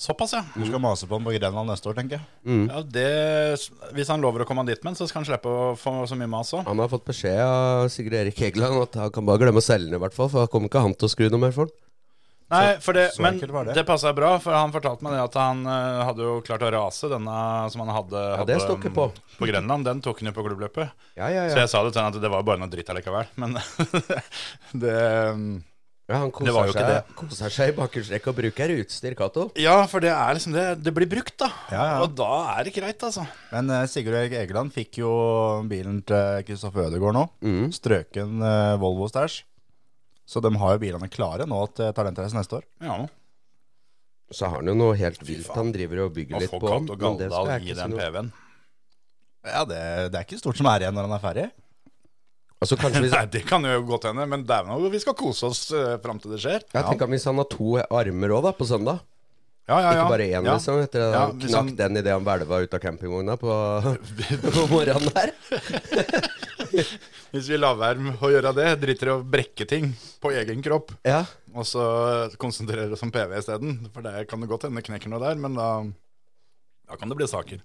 C: Såpass, ja.
D: Du skal mase på han på Grenland neste år, tenker jeg.
C: ja det, hvis han lover å komme dit med den, så skal han slippe å få så mye mas òg.
E: Han har fått beskjed av Sigurd Erik Hegeland at han kan bare glemme å selge den, i hvert fall. For da kommer ikke han til å skru noe mer for den.
C: Nei, for det,
D: så
C: men
D: enkelt var
C: det,
D: det.
C: passa bra, for han fortalte meg det at han eh, hadde jo klart å rase denne som han hadde, hadde
E: det står ikke
C: mm,
E: på.
C: på Grenland. Den tok han jo på klubbløpet.
E: Ja, ja,
C: Så
E: ja.
C: jeg sa det til han at det var bare noe dritt allikevel. Men (laughs) det mm,
E: ja han
C: Det var
E: koser
C: jo
E: seg,
C: ikke
E: koser seg i bakhjulstrekk og bruker utstyr, Cato.
C: Ja, for det er liksom det. Det blir brukt, da.
D: Ja, ja.
C: Og da er det greit, altså.
D: Men eh, Sigurd Erik Egeland fikk jo bilen til Kristoffer Ødegaard nå.
C: Mm.
D: Strøken eh, Volvo-stæsj. Så de har jo bilene klare nå til talentreise neste år.
C: Ja,
E: Så har han jo noe helt
C: Fy
E: vilt
C: faen.
E: han driver og bygger
C: Å
E: litt
C: få
E: på.
C: Katt og
E: men det skal
C: Galdhall
E: jeg
C: i
E: ikke si
C: den
E: noe-
C: PV-en.
D: Ja, det, det er ikke stort som er igjen når han er ferdig.
E: Altså, kanskje
C: (laughs)
E: hvis
C: Nei, det kan jo godt hende, men dæven òg, vi skal kose oss uh, fram til det skjer.
E: Jeg tenker hvis han har to armer òg, da, på søndag.
C: Ja, ja, ja.
E: Ikke bare én,
C: ja.
E: liksom. Etter at
C: Ja,
E: han
C: hvis
E: knakk
C: han-
E: den idet han hvelva ut av campingvogna på, (laughs) på morgenen der.
C: (laughs) Hvis vi lar være med å gjøre det, driter i å brekke ting på egen kropp.
E: Ja.
C: Og så konsentrere oss om PV isteden. For det kan det godt hende knekker noe der, men da, da kan det bli saker.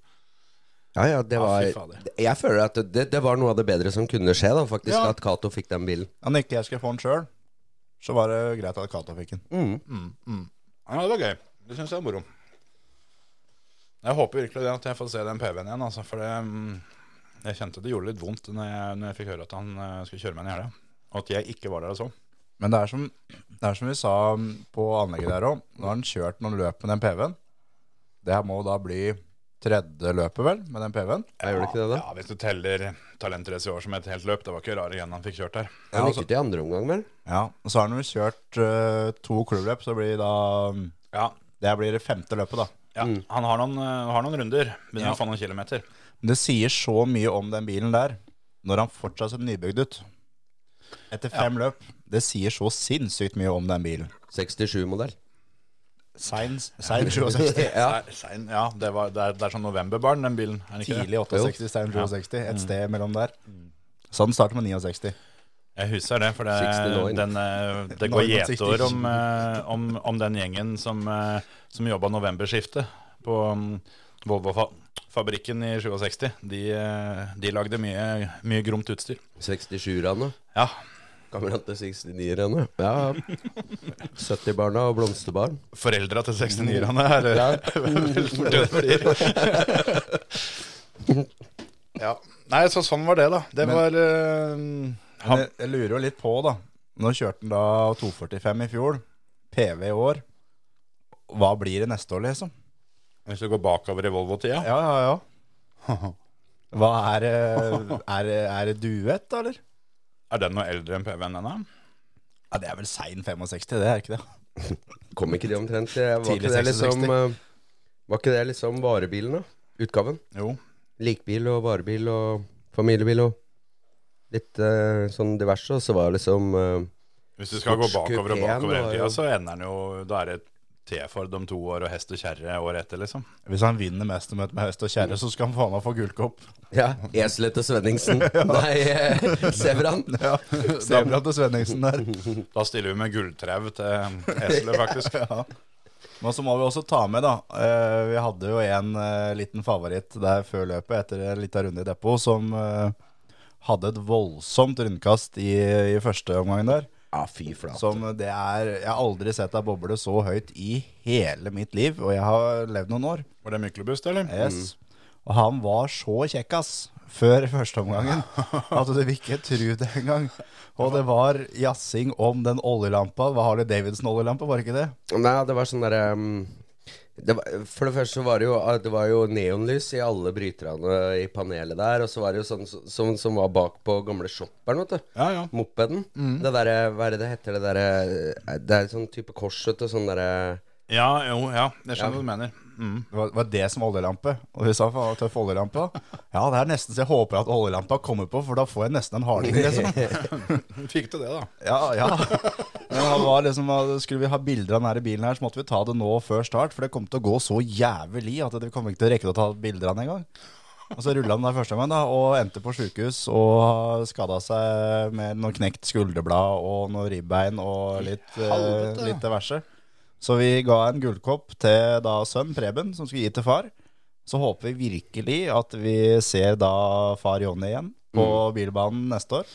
E: ja, ja, det
C: Ja,
E: var
C: fy fader.
E: Jeg føler at det, det var noe av det bedre som kunne skje, da, faktisk,
C: Ja.
E: at Cato fikk den bilen.
D: Han ikke jeg skulle få den sjøl, så var det greit at Cato fikk den.
C: Mm.
D: Mm,
C: Ja, det var gøy. Det syns jeg var moro. Jeg håper virkelig det at jeg får se den PV-en igjen, altså. For det, mm, jeg kjente det gjorde litt vondt når jeg, når jeg fikk høre at han eh, skulle kjøre meg ned i helga. Og at jeg ikke var der og så.
D: Men det er som, det er som vi sa mm, på anlegget der òg. Nå har han kjørt noen løp med den PV-en. Det her må da bli tredje løpet, vel, med den PV-en.
E: Ja, gjør det ikke det, da?
C: Ja, Hvis du teller talentrace i år som et helt løp, det var ikke rare igjen han fikk kjørt der.
E: Han gikk ut i andre omgang, vel?
D: Ja, og så har han jo kjørt eh, to klubbløp, så blir da
C: Ja,
D: Det blir det femte løpet, da.
C: ja Han har noen, eh, har noen runder. Begynner å få noen kilometer.
D: Men det sier så mye om den bilen der, når han fortsatt ser nybygd ut. Etter fem løp. Det sier så sinnssykt mye om den bilen.
E: 67-modell.
D: Sein sein (laughs) 67.
E: Ja.
C: Nei, sein, ja det, var, det, er, det er sånn novemberbarn, den bilen. Er det ikke det?
D: Tidlig 68, sein 67. Et sted mellom der. Så den starter med 69.
C: Jeg husker det, for det,
E: 69.
C: den, eh, det går
D: Norman
C: gjetord
D: 69.
C: om, eh, om, om den gjengen som, eh, som jobba novemberskiftet på mm, Volvo-fabrikken i 67. De, eh, de lagde mye, mye gromt utstyr.
E: 67-rane.
C: Ja,
E: Kamerat til 69-rane. Ja. 70-barna og blomsterbarn.
C: foreldra til
D: Mm.
C: 69-erne er eh,
E: Ja.
C: vel fort det blir. ja. Nei, så sånn var det, da. Det
D: Men-
C: var eh,
D: Men jeg, jeg lurer jo litt på, da. Nå kjørte han da 245 i fjor. PV i år. Hva blir det neste år, liksom?
C: Hvis du går bakover i Volvo-tida
D: Ja, ja, ja. Hva er det? Er, det- er det duett, da, eller?
C: Er den noe eldre enn PV-en ennå?
D: Ja, det er vel sein 65, det er ikke det?
E: Kom ikke de omtrent til Var
D: Tidlig
E: ikke det
D: 66.
E: liksom eh, Var ikke det liksom varebilen, da? Utgaven?
C: Jo.
E: Likbil og varebil og familiebil og litt eh, sånn diverse, og så var det liksom eh,
C: Hvis du skal gå bakover og
E: Sportskupéen
C: bakover hele
E: var
C: tida,
E: jo-
C: så ender den jo Da er det T-Ford om to år og hest og kjerre året etter, liksom.
D: Hvis han vinner mestermøtet med hest og kjerre, så skal han faen meg få gullkopp.
E: Ja, eselet til (laughs) Svenningsen. Nei, eh, Sevran.
D: (laughs) Ja, Sebra til Svenningsen der.
C: Da stiller vi med gulltrau til (laughs) eselet, faktisk.
D: Men så må vi også ta med, da. eh, Vi hadde jo en eh, liten favoritt der før løpet, etter en liten runde i depot, som eh, hadde et voldsomt rundkast i, i første omgang der.
E: Ja, fy flate.
D: Som eh, det er Jeg har aldri sett ei boble så høyt i hele mitt liv, og jeg har levd noen år.
C: Var det myklebust, eller?
D: Yes. Og han var så kjekkas før førsteomgangen at du vil ikke tro det engang. Og det var jazzing om den oljelampa. Hva Harley Davidson-oljelampa, var det ikke det?
E: Nei, det var sånn derre um, det var, for det første så var det jo ah, Det var jo neonlys i alle bryterne i panelet der. Og så var det jo sånn som, som, som var bak på gamle shopperen, vet du.
C: Ja, Mm. ja.
E: Mopeden. Det derre Hva er det det heter? Det eh, derre Det er sånn type kors, vet du. Sånn derre
C: Ja, jo, ja. Jeg skjønner hva du mener.
D: Det var, var det som var oljelampe. Og vi sa faen hva tøff oljelampe. da. Ja, det er nesten så jeg håper at oljelampa kommer på, for da får jeg nesten en harding. Liksom.
C: Fikk til det, da.
D: Ja, ja. (laughs) Men han var liksom, at skulle vi ha bilder av denne bilen her, så måtte vi ta det nå før start. For det kom til å gå så jævlig at vi kom ikke til å rekke å ta bilder av den engang. Og så rulla han der første gang da, og endte på sjukehus og skada seg med noen knekt skulderblad og noen ribbein og litt, eh,
C: Helvete.
D: litt diverse. Så vi ga en gullkopp til da sønn Preben, som skulle gi til far. Så håper vi virkelig at vi ser da far Jonny igjen på bilbanen neste år.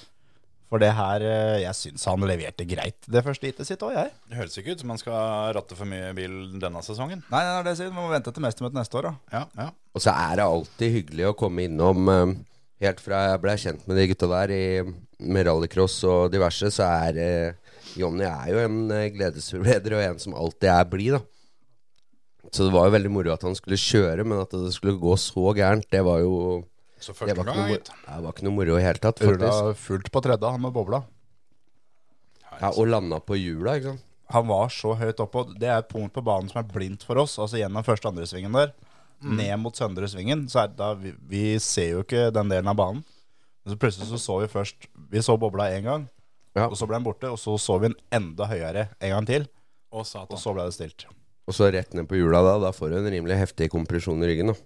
D: For det her, eh, jeg syns han leverte greit det første hitet sitt òg, jeg.
C: Det høres ikke ut som man skal ratte for mye bil denne sesongen.
D: Nei, nei, nei, det sier vi. Vi må vente til mestermøtet neste år, da.
C: Ja, ja.
E: Og så er det alltid hyggelig å komme innom eh, Helt fra jeg ble kjent med de gutta der i, med rallycross og diverse, så er eh, Jonny er jo en eh, gledesforbereder og en som alltid er blid, da. Så det var jo veldig moro at han skulle kjøre, men at det skulle gå så gærent, det var jo
C: Så
E: det
C: første
E: var, ikke
C: gang,
E: noe,
C: gitt.
E: mor- det var ikke noe moro i det hele tatt,
D: Rulla
E: faktisk.
D: fullt på tredje, han med bobla.
E: Ja, og landa på hjula, ikke sant.
D: Han var så høyt oppe, og det er et punkt på banen som er blindt for oss. Altså gjennom første og andre svingen der, ned mot søndre svingen, så er det da vi, vi ser jo ikke den delen av banen. Men så plutselig så så vi først Vi så bobla én gang,
E: Ja.
D: og så ble den borte. Og så så vi den enda høyere en gang til,
C: Og satan.
D: og så ble det stilt.
E: Og så rett ned på hjula da. Da får du en rimelig heftig kompresjon i ryggen. da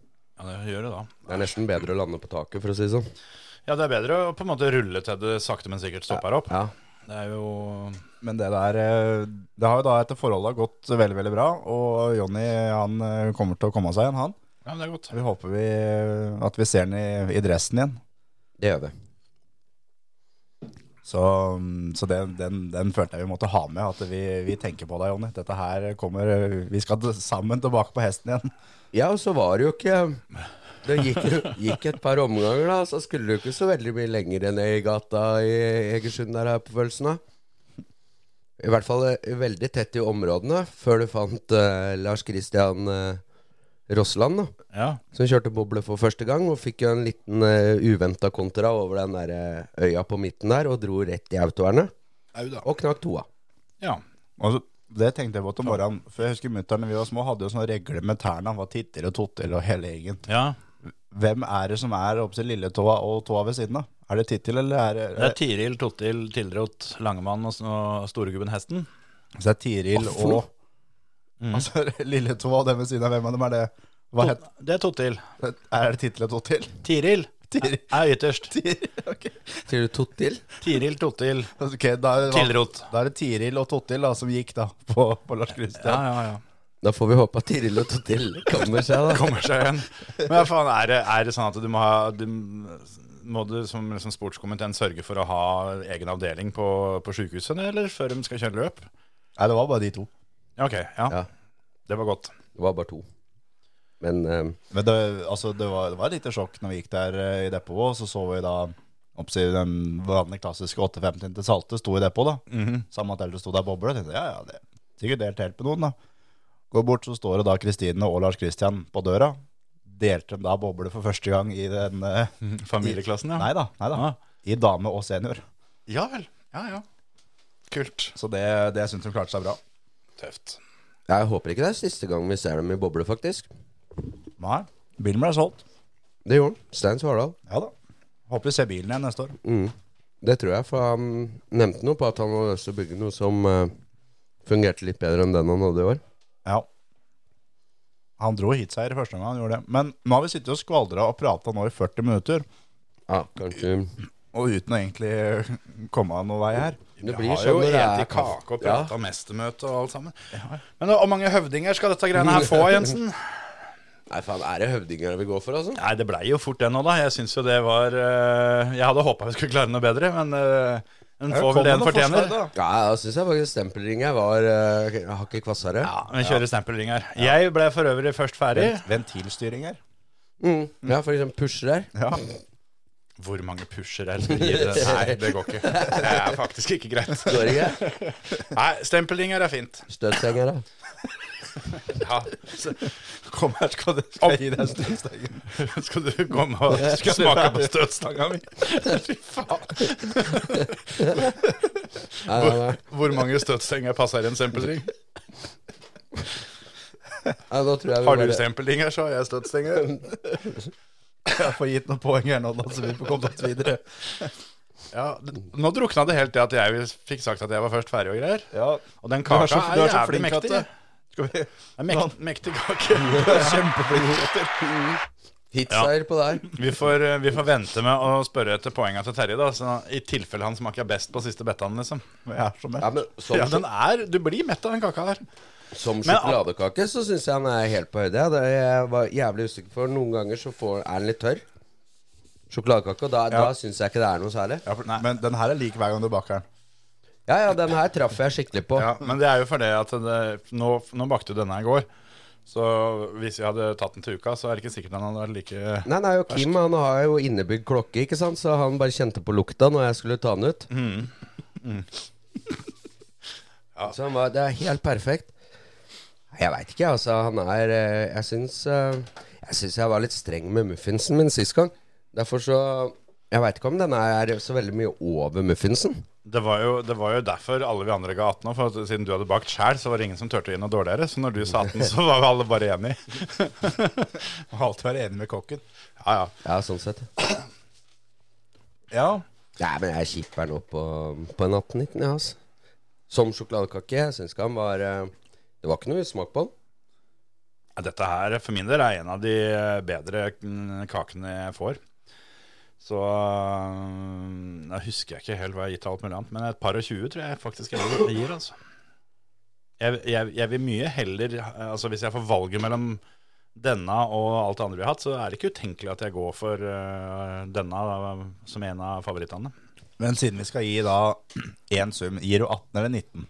C: Ja, det gjør det, da.
E: Det er nesten bedre å lande på taket, for å si det sånn.
C: Ja, det er bedre å på en måte rulle til det sakte, men sikkert stopper opp.
E: Ja.
C: Det er jo
D: Men det der eh, Det har jo da etter forholdet gått veldig, veldig bra. Og Jonny han eh, kommer til å komme seg igjen, han.
C: Ja, men det er godt.
D: Vi håper vi, eh, at vi ser han i, i dressen igjen.
E: Det gjør vi.
D: Så, mm, så den, den, den følte jeg vi måtte ha med. At vi, vi tenker på deg, Jonny. Dette her kommer eh, Vi skal til- sammen tilbake på hesten igjen. (laughs)
E: Ja, og så var det jo ikke Det gikk, gikk et par omganger, da. Så skulle du ikke så veldig mye lenger enn i gata i Egersund der, har jeg på følelsen av. I hvert fall eh, veldig tett i områdene, før du fant eh, Lars Christian eh, Rossland, da.
C: Ja.
E: Som kjørte boble for første gang, og fikk jo en liten uh, uventa kontra over den der eh, øya på midten der, og dro rett i autovernet.
C: Au da.
E: Og knakk toa.
C: Ja.
D: Og så, det tenkte jeg på til morgenen. For jeg husker mutter'n da vi var små, hadde jo sånne regler med tærne. Han var titter og totter og hele gjengen.
C: ja.
D: Hvem er det som er oppe til lilletåa og tåa ved siden av? Er det tittel, eller er det,
C: Det er Tiril, Totil, Tilrot, Langemann og, s- og storegubben Hesten.
D: Så det er Tiril
E: Hva for
D: og
E: noe?
D: Altså (laughs) lilletåa og den ved siden av. Hvem av dem er det? Hva het,
C: Tot- Det er Totil.
D: er det tittel og totil? (laughs)
C: Tiril
D: Tiril.
C: er ytterst.
D: Ok,
E: Sier du Tottil?
C: Tiril, Totil,
D: Ok, da er det-
C: Tilrot.
D: Da er det Tiril og Tottil da, som gikk da på, på Lars Kristian.
C: Ja, ja, ja.
E: Da får vi håpe at Tiril og Tottil kommer seg, da.
C: Kommer seg igjen. Men hva faen, er det, er det sånn at du må ha du, Må du som, som sportskommentent sørge for å ha egen avdeling på, på sjukehuset, eller før de skal kjøre løp?
D: Nei, det var bare de to.
C: Ja, ok. Ja.
E: Ja.
C: Det var godt.
E: Det var bare to. Men eh,
D: Men det, altså, det, var, det var et lite sjokk når vi gikk der eh, i depotet, og så så vi da oppsi den vanlige klassiske 850 til Salte sto i depotet. da. Samme at eldre sto der og boblet. Tenkte, ja, ja, det er sikkert delt helt med noen, da. Går bort, så står det da Kristine og Lars Kristian på døra. Delte dem da boble for første gang i den eh,
C: Familieklassen, ja.
D: Nei da, nei da.
C: Ah.
D: I dame og senior.
C: Ja vel. Ja, ja. Kult.
D: Så det, det syns de klarte seg bra.
C: Tøft.
E: jeg håper ikke det er siste gang vi ser dem i boble, faktisk.
D: Nei, bilen ble solgt.
E: Det gjorde han. Stein Svardal.
D: Ja da. Håper vi ser bilen igjen neste år.
E: Mm. Det tror jeg, for han nevnte noe på at han hadde lyst til å bygge noe som eh, fungerte litt bedre enn den han hadde i år.
D: Ja. Han dro hitseier første gang han gjorde det. Men nå har vi sittet og skvaldra og prata nå i 40 minutter,
E: Ja, kanskje
D: og uten å egentlig komme av noen vei her.
E: Det
C: Vi
E: blir
C: har
E: sånn
C: jo
E: når det
C: eti
E: er
C: kake og
E: Ja.
C: prata mestermøte og alt sammen. Men da, hvor mange høvdinger skal dette greiene her få,
E: (laughs)
C: Jensen?
E: Nei, faen, er det høvdinger vi går for, altså?
C: Nei, det blei jo fort det nå, da. Jeg syns jo det var eh, Jeg hadde håpa vi skulle klare noe bedre, men uh, en får vel det en fortjener.
E: Ja, da syns jeg faktisk stempelringen var uh, hakket kvassere.
C: Ja, vi kjører stempelring her. Jeg ble for øvrig først ferdig.
D: Ventilstyring her. (laughs)
E: Mm. ja for eksempel pusher der.
D: Ja.
C: Hvor mange pusher er det som gir
E: (laughs)
C: det? Nei, det går ikke. Det er faktisk ikke greit.
E: Går ikke?
C: Nei, stempelring her er fint.
E: Støtstenger, da.
C: Ja. Så,
D: Kom her, skal du skal jeg gi deg støvstøyen.
C: skal du komme og skal smake på støtstanga mi? Fy faen.
E: Nei, nei, nei.
C: Hvor mange støtstenger passer i en stempelring?
E: Ja, nå tror jeg vi
C: Har du
E: bare- (laughs)
C: stempeldinger, så har jeg støttstenger.
D: (laughs) Jeg får gitt noen poeng her nå, da, så vi får kommet oss videre.
C: Ja, d- nå drukna det helt til at jeg fikk sagt at jeg var først ferdig og greier.
D: Ja,
C: Og den
D: Du
C: kaka
D: er så- du
C: er,
D: er så
C: jævlig
D: flink at
C: mektig.
D: det-
C: Skal
D: (laughs)
C: vi... Det er mek mektig kake.
E: Hitseier på der.
C: Vi får, eh, vi får vente med å spørre etter poenga til Terje, da. Så I tilfelle han smaker best på siste bettaen, liksom.
D: Jeg er så
E: Ja,
D: mett.
E: men sånn som,
C: Ja, den er, du blir mett av den kaka her.
E: som
C: Men-
E: sjokoladekake så syns jeg den er helt på høyde. ja. Det jeg var jævlig usikker for Noen ganger så får, er den litt tørr. Sjokoladekake, og da, da syns jeg ikke det er noe særlig.
D: Ja, for- men den her er lik hver gang du baker den.
E: Ja, ja, den her traff jeg skikkelig på.
C: Ja, men det er jo fordi at det, nå, nå bakte du denne i går. Så hvis vi hadde tatt den til uka, så er det ikke sikkert den hadde vært like
E: Nei, nei, og Kim han har jo innebygd klokke, ikke sant? så han bare kjente på lukta når jeg skulle ta den ut. (laughs) Så han var, det er helt perfekt. Jeg veit ikke, altså. Han er eh, Jeg syns eh, Jeg syns jeg var litt streng med muffinsen min sist gang. Derfor så Jeg veit ikke om denne er så veldig mye over muffinsen.
C: Det var, jo, det var jo derfor alle vi andre ga 18 nå, for at siden du hadde bakt sjæl, så var det ingen som turte å gi noe dårligere. Så når du sa 18, så var vi alle bare
D: (laughs)
C: enige.
D: Må alltid være enig med kokken.
C: Ja, ja.
E: Ja, sånn sett.
D: Ja,
E: Nei, men jeg kipper den opp på, på en 18-19, jeg, altså. Som sjokoladekake. Jeg syns ikke han var eh, Det var ikke noe smak på den.
C: Ja, Dette her for min del er en av de eh, bedre mm, kakene jeg får. Så mm, Jeg husker jeg ikke helt hva jeg har gitt av alt mulig annet, men et par og 20 tror jeg faktisk jeg gir. altså. Jeg, jeg, jeg vil mye heller altså Hvis jeg får valget mellom denne og alt det andre vi har hatt, så er det ikke utenkelig at jeg går for øh, denne øh, som en av favorittene.
D: Men siden vi skal gi da én sum, gir du 18 eller 19?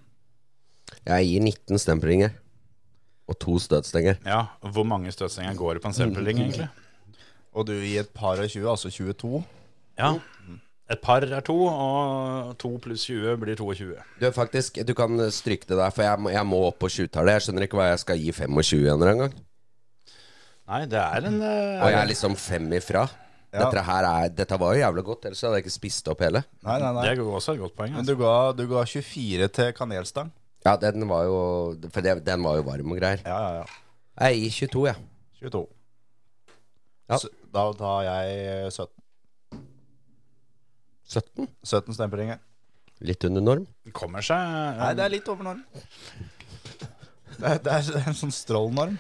E: Jeg gir 19 stemplinger. Og to støtstenger.
C: Ja, Hvor mange støtstenger går det på en stempelring, egentlig?
D: Og du gir et par og 20, altså 22.
C: Ja, Et par er to, og to pluss 20 blir 22.
E: Du, faktisk, du kan stryke det der, for jeg må, jeg må opp på 20-tallet. Jeg skjønner ikke hva jeg skal gi 25 en eller annen gang.
C: Nei, det er
D: Mm.
C: en eh,
E: Og jeg er liksom fem ifra.
D: Ja.
E: Dette her er Dette var jo jævlig godt, ellers hadde jeg ikke spist opp hele.
D: Nei, nei,
C: Det
D: nei.
C: er jo også et godt poeng.
D: Men
C: Altså.
D: du ga, du ga 24 til kanelstang.
E: Ja, den var jo For det, den var jo varm og greier.
D: Ja, ja, ja.
E: Jeg gir 22, jeg.
D: 22.
E: Ja.
D: Så Da tar jeg eh, 17,
E: Ja. 17?
D: 17 stempelinger.
E: Litt under norm.
C: Det kommer seg
D: Nei,
C: eh,
D: det er litt over norm. Det er, det er, det er en sånn strålnorm.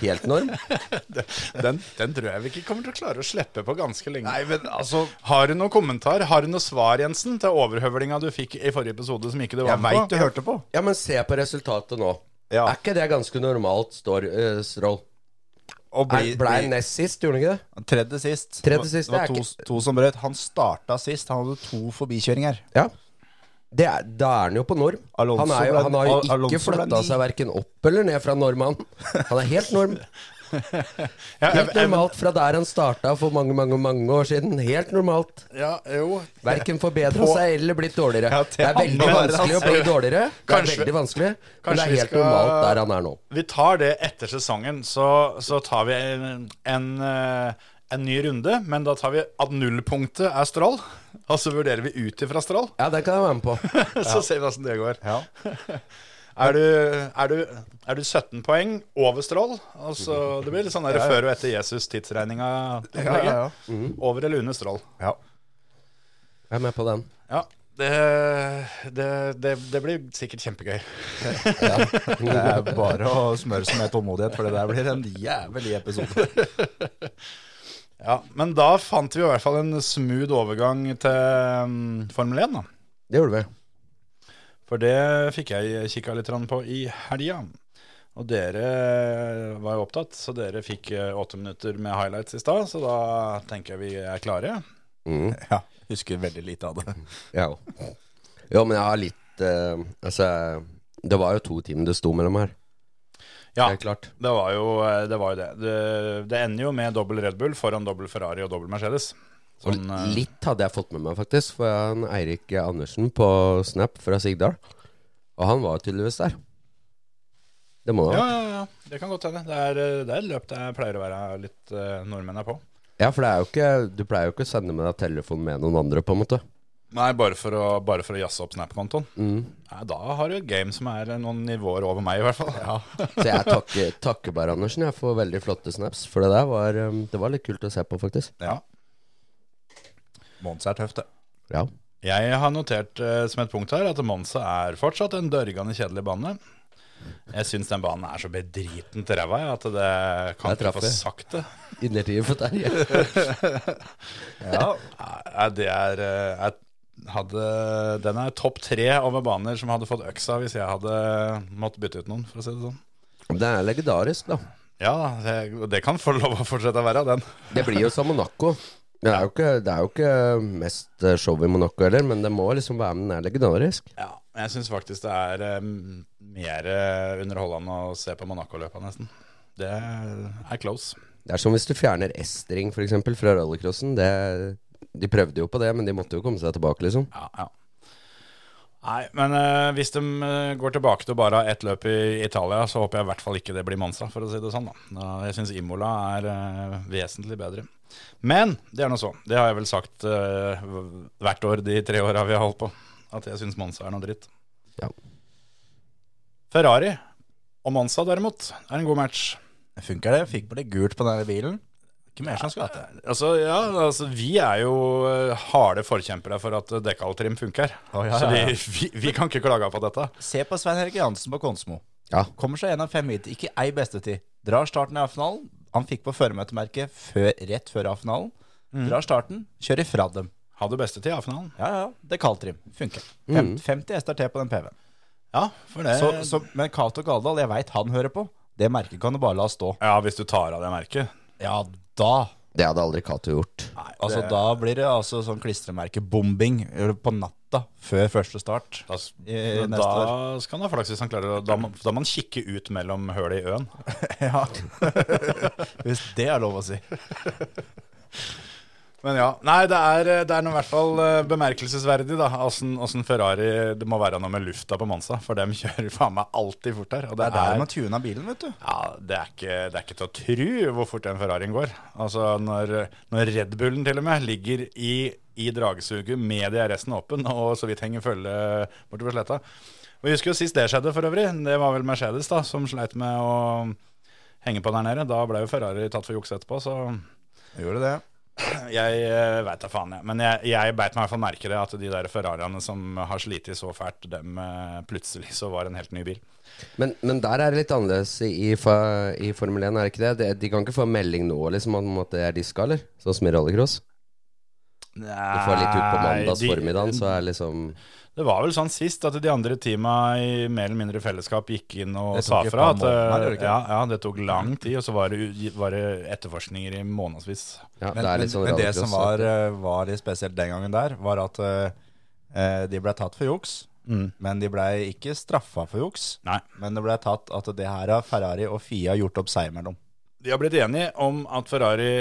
E: Helt norm.
C: den, den tror jeg vi ikke kommer til å klare å slippe på ganske lenge.
D: men altså
C: Har du noen kommentar? Har du noe svar, Jensen, til overhøvlinga du fikk i forrige episode som ikke du var
D: Jeg
C: med
D: veit du
C: på?
D: hørte på.
E: Ja, men se på resultatet nå.
D: Ja.
E: Er ikke det ganske normalt, står, eh, Strål?
D: Og bli,
E: Er- Ble
D: bli,
E: han nest sist, gjorde han ikke det?
D: tredje sist.
E: Tredje sist,
D: det var
E: det er
D: to, to som brøt. Han starta sist. Han hadde to forbikjøringer.
E: Ja. Det er, da er han jo på norm.
D: Alonso
E: han, er jo,
D: ble-
E: han har jo
D: Al- Alonso
E: ikke
D: ble
E: flytta
D: ni.
E: seg verken opp eller ned fra normalen. Han er helt norm.
C: Ja, jeg-
E: Helt
C: jeg-
E: normalt fra der han starta for mange, mange mange år siden. Helt normalt.
C: Ja, jo.
E: Verken forbedra seg eller blitt dårligere.
D: Ja,
E: Det
D: til
E: er veldig
D: andre verden,
E: vanskelig å bli dårligere. Det er
C: Kanskje-
E: veldig vanskelig, men det
C: kanskje
E: er
C: vi
E: helt
C: skal-
E: normalt der han er nå.
C: Vi tar det etter sesongen, så, så tar vi en, en, eh, en ny runde. Men da tar vi at nullpunktet er strål, og så vurderer vi ut ifra strål.
E: Ja, den kan jeg være med
C: (laughs)
E: på.
C: Så ser vi åssen det går.
D: Ja.
C: (laughs) Er du, er, du, er du 17 poeng over strål? Altså, det blir litt sånn der før og etter Jesus-tidsregninga.
D: Ja, ja, Mm. ja.
C: Over eller under strål.
D: ja.
E: Jeg er med på den.
C: Ja, det, det, det, det blir sikkert kjempegøy.
D: Det er bare å smøre seg med tålmodighet, for det der blir en jævlig episode.
C: Ja, Men da fant vi i hvert fall en smooth overgang til mm, Formel 1, da.
E: Det gjorde vi.
C: For det fikk jeg kikka litt grann på i helga. Og dere var jo opptatt, så dere fikk eh, åtte minutter med highlights i stad. Så da tenker jeg vi er klare.
D: Ja, husker veldig lite av det.
E: Ja. Jo, men jeg har litt eh, Altså, det var jo to timer det sto mellom her.
C: Ja,
E: Det er klart.
C: Det var jo eh, det. Var jo det. det. Det ender jo med dobbel Red Bull foran dobbel Ferrari og dobbel Mercedes.
E: Og
C: Sånn, eh,
E: litt hadde jeg fått med meg, faktisk. For jeg har en Eirik Andersen på Snap fra Sigdal. Og han var tydeligvis der. Det må
C: ja,
E: han. Ja.
C: ja, ja, det kan godt hende. Det er, eh, det er et løp det pleier å være litt eh, nordmenn er på.
E: for det er jo ikke, du pleier jo ikke å sende med deg telefon med noen andre, på en måte.
C: Nei, bare for å, bare for å jazze opp Snap-kontoen.
E: Mm.
C: Nei, da har du et game som er noen nivåer over meg, i hvert fall. (laughs)
E: Så jeg takker, takker bare Andersen jeg får veldig flotte snaps, for det der var, um, det var litt kult å se på, faktisk.
C: Ja.
D: Mons er tøft, det.
E: Ja.
C: Jeg har notert eh, som et punkt her at Monza er fortsatt en dørgende kjedelig bane. Jeg syns den banen er så bedritent ræva jeg, at det kan
E: Der
C: ikke
E: traff
C: få
E: jeg.
C: sagt det.
E: Innertier for Terje.
D: Ja.
C: (laughs) Nei, det er eh, jeg hadde, Den er topp tre over baner som hadde fått øksa hvis jeg hadde måttet bytte ut noen, for å si det sånn.
E: Det er legendarisk, da.
C: Ja, det, det kan få lov å fortsette å være den.
E: Det blir jo som Monaco. Det er jo ikke, det er jo ikke mest eh, show i Monaco heller, men det må liksom være med den er legendarisk.
C: Ja, jeg syns faktisk det er eh, mer eh, underholdende å se på Monaco-løpa, nesten. Det er close.
E: Det er som hvis du fjerner S-ring for eksempel fra rallycrossen. Det, de prøvde jo på det, men de måtte jo komme seg tilbake, liksom.
C: Ja, ja. Nei, men eh, hvis de eh, går tilbake til bare ett løp i Italia, så håper jeg i hvert fall ikke det blir Monza, for å si det sånn. da. da jeg syns Imola er eh, vesentlig bedre. Men det er nå så. Det har jeg vel sagt eh, v- hvert år de tre åra vi har holdt på, at jeg syns Monza er noe dritt.
E: Ja.
C: Ferrari og Monza derimot er en god match.
D: Funker det? Fikk bare gult på denne bilen. Ikke mer som skal til.
C: Altså, ja, altså, vi er jo eh, harde forkjempere for at eh, dekkaltrim funker.
D: Å, ja,
C: Så
D: ja, ja.
C: vi, vi, vi kan ikke klage på dette.
D: Se på Svein Helge Jansen på Konsmo.
E: Ja.
D: Kommer seg gjennom fem hit, ikke ei bestetid. Drar starten i A-finalen. Han fikk på føremøtemerket før, rett før A-finalen. Drar starten, kjører fra dem.
C: Hadde beste tid i finalen.
D: Ja, ja, det er kaldtrim. Funker. Fem, 50 hester til på den PV-en.
C: Ja, for det
D: Så, så, men Cato Galdhall, jeg veit han hører på. Det merket kan du bare la stå.
C: Ja, hvis du tar av det merket.
D: Ja, da
E: Det hadde aldri Cato gjort.
D: Altså, Da blir det altså sånn klistremerkebombing eh, på natta før første start.
C: Da,
D: I- neste
C: da skal han ha flaks hvis han klarer å Da må da må han kikke ut mellom hølet i øen.
D: (laughs) Ja. Hvis det er lov å si.
C: Men ja. Nei, det er, det er nå i hvert fall eh, bemerkelsesverdig, da. Åssen åssen Ferrari Det må være noe med lufta på Monza, for dem (laughs) kjører faen meg alltid fort her. Og det
D: Det
C: er
D: er der
C: der
D: man tuner bilen, vet du.
C: ja, det, er ikke, det er ikke til å tru hvor fort den Ferrarien går. Altså når, når Red Bullen til og med ligger i, i dragsuget med DRS-en åpen og så vidt henger følge bortover sletta. Og Vi husker jo sist det skjedde for øvrig. Det var vel Mercedes da, som sleit med å henge på der nede. Da ble jo Ferrari tatt for juks etterpå, så
D: Gjorde det.
C: jeg uh, veit da faen, jeg. Men jeg, jeg beit meg i hvert fall merke det, at de der Ferrariene som har slitt så fælt, dem eh, plutselig så var en helt ny bil.
E: Men, men der er det litt annerledes i, fa- i Formel 1, er det ikke det? De, de kan ikke få melding nå liksom, om at det er diska, eller? Sånn som i rallycross. Du får litt ut på mandags
C: Nei, de-
E: formiddagen, så er liksom
C: Det var vel sånn sist at de andre teama i mer eller mindre fellesskap gikk inn og
D: Det tok
C: sa
D: et
C: fra.
D: par
C: At, eh,
D: måneder, gjorde det ikke?
C: ja, ja, det tok lang tid, og så var det, u- var det etterforskninger i månedsvis.
E: ja,
D: Men,
E: Det er
D: men,
E: litt sånn
D: men det
E: rallycross.
D: som var, eh, var litt spesielt den gangen der, var at eh, eh, de ble tatt for juks. Men de ble ikke straffa for juks.
C: Mm. Nei.
D: Men det ble tatt at det her har Ferrari og Fia gjort opp seg mellom.
C: De har blitt enige eh, om at Ferrari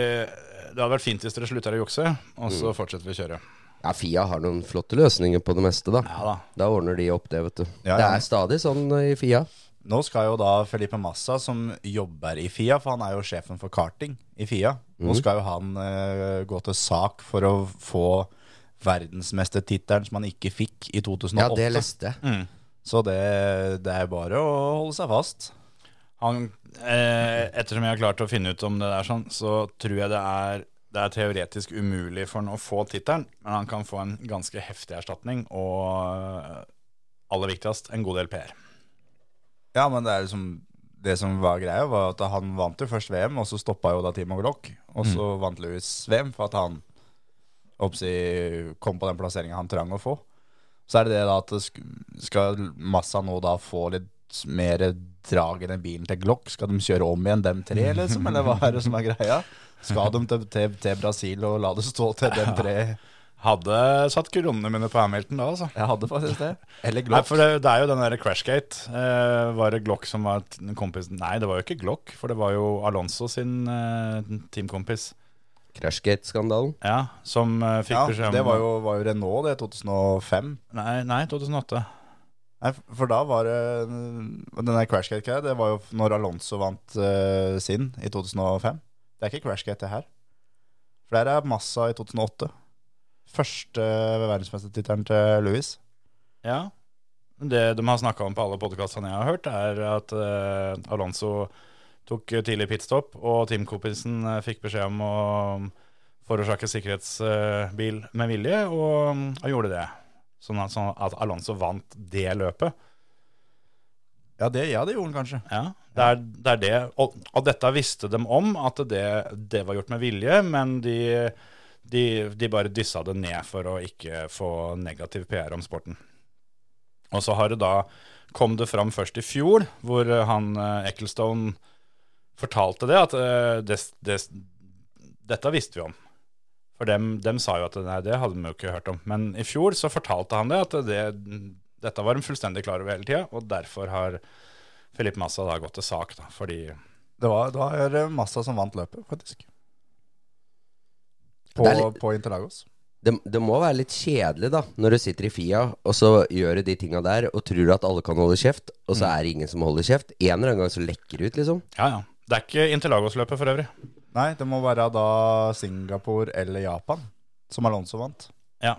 C: Det hadde vært fint hvis dere slutter å jukse, og
D: Mm.
C: så fortsetter vi å kjøre.
E: Ja, Fia har noen flotte løsninger på det meste, da.
C: Ja da.
E: Da ordner de opp det, vet du.
D: Ja,
E: Det
D: ja.
E: er stadig sånn eh, i Fia.
D: Nå skal jo da Felipe Massa, som jobber i Fia, for han er jo sjefen for karting i Fia,
C: Mm.
D: nå skal jo han eh, gå til sak for å få verdensmestertittelen som han ikke fikk i 2008.
E: Ja, det leste jeg.
D: Så det, det er bare å holde seg fast.
C: Han, eh, ettersom jeg har klart å finne ut om det der sånn, så tror jeg det er, det er teoretisk umulig for han å få tittelen, men han kan få en ganske heftig erstatning, og eh, aller viktigst, en god del PR.
D: Ja, men det er liksom Det som var greia, var at han vant jo først VM, og så stoppa jo da Timo Glock. Og så
C: Mm.
D: vant Louis VM for at han oppsi, kom på den plasseringa han trang å få. Så er det det da at det sk- skal Massa nå da få litt mer drag i den bilen til Glock? Skal de kjøre om igjen, dem tre, liksom? Eller hva er det som er greia? Skal de til, til, til Brasil og la det stå til dem tre?
C: Hadde satt kronene mine på Hamilton da, altså.
D: Jeg hadde faktisk det. Eller
C: Nei,
D: Glock.
C: for det, det er jo den derre Crashgate. Eh, var det Glock som var t- kompisen Nei, det var jo ikke Glock, for det var jo Alonso sin eh, teamkompis.
E: Crashgate-skandalen.
C: Ja, som eh, fikk
D: Ja,
C: beskjed om
D: det var jo, var jo Renault, det, 2005.
C: Nei, nei 2008.
D: Nei, for da var det mm, Den der crashgate-greia, det var jo når Alonso vant eh, sin i 2005. Det er ikke crashgate, det her. For der er Massa i 2008. Første eh, verdensmestertittelen til Louis.
C: Ja. Men Det de har snakka om på alle podkastene jeg har hørt, er at eh, Alonso tok tidlig pitstop, og teamkompisen eh, fikk beskjed om å forårsake sikkerhetsbil med vilje, og, og gjorde det. Sånn at, sånn at Alonso vant det løpet.
D: Ja, det, ja, det gjorde han kanskje.
C: Ja, det er, det er det. Og, og dette visste de om, at det, det var gjort med vilje, men de, de, de bare dyssa det ned for å ikke få negativ PR om sporten. Og så har det da kom det fram først i fjor, hvor eh, han eh, Ecclestone fortalte det, at eh, det, det, dette visste vi om. For dem, dem sa jo at nei, det hadde de jo ikke hørt om. Men i fjor så fortalte han det, at det, dette var de fullstendig klar over hele tida, og derfor har Filip Massa da gått til sak, da, fordi
D: Det var, det var eh, Massa som vant løpet, faktisk. På,
E: Det er litt-
D: på Interlagos.
E: Det, det må være litt kjedelig, da, når du sitter i FIA, og så gjør du de tinga der, og tror at alle kan holde kjeft, og så er det ingen som holder kjeft. En eller annen gang så lekker det ut, liksom.
C: Ja, ja. Det er ikke Interlagos-løpet for øvrig.
D: Nei, det må være da Singapore eller Japan, som Alonso vant.
C: Ja.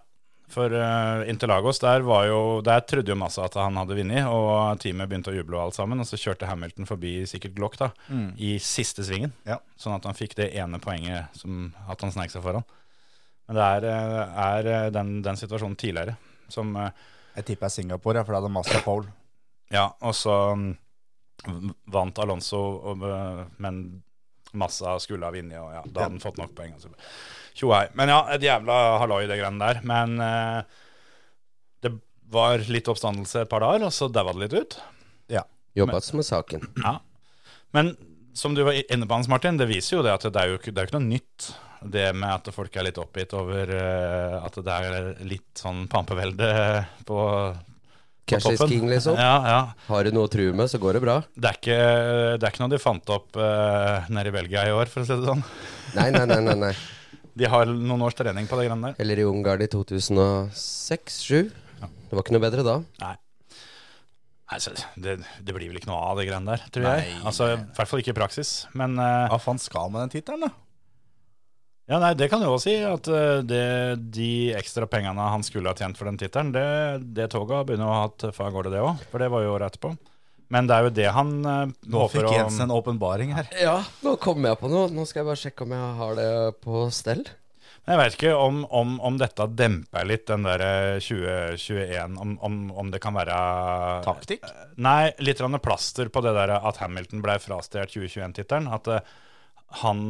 C: For eh, Interlagos, der, var jo, der trodde jo Massa at han hadde vunnet, og teamet begynte å juble og alt sammen, og så kjørte Hamilton forbi sikkert Glock da,
E: Mm.
C: i siste svingen,
D: Ja.
C: sånn at han fikk det ene poenget som at han snek seg foran. Men det er, eh, er eh, den, den situasjonen tidligere som eh,
D: Jeg tipper det er Singapore, ja, for da hadde Massa pole.
C: Ja, og så mm, vant Alonso, og, eh, men Massa skulle ha vunnet, og ja, da hadde han fått nok poeng. Altså. Tjohei. Men ja, et jævla halloi, det greiene der. Men eh, det var litt oppstandelse et par dager, og så daua det litt ut.
D: Ja.
E: Jobbes med saken.
C: Ja. Men som du var inne på, Hans Martin, det viser jo det at det er jo ikke, det er jo ikke noe nytt. Det med at folk er litt oppgitt over eh, at det er litt sånn pampevelde på, på
E: Cash is
C: toppen.
E: king, liksom.
C: Ja, ja.
E: Har du noe å true med, så går det bra.
C: Det er, ikke, det er ikke noe de fant opp eh, nede i Belgia i år, for å si det sånn.
E: Nei, nei, nei, nei. nei.
C: De har noen års trening på det greiene der.
E: Eller i Ungarn i 2006-2007. Det var ikke noe bedre da.
C: Nei. Nei, så det, det blir vel ikke noe av det greiene der, tror jeg. Altså, I hvert fall ikke i praksis. Men eh,
D: Hva faen skal han med den tittelen, da?
C: ja, nei, det kan du også si, at eh, det, de ekstra pengene han skulle ha tjent for den tittelen, det, det toget begynner å ha hatt fra gårde, det òg. For det var jo året etterpå. Men det er jo det han eh,
D: Nå
C: håper
D: fikk
C: å-
D: Jensen en åpenbaring her.
E: Ja, nå kom jeg på noe. Nå skal jeg bare sjekke om jeg har det på stell.
C: Men Jeg vet ikke om, om, om dette demper litt den der eh, 2021, om, om, om det kan være
D: Taktikk?
C: Nei, litt grann plaster på det der at Hamilton ble frastjålet 2021-tittelen. At eh, han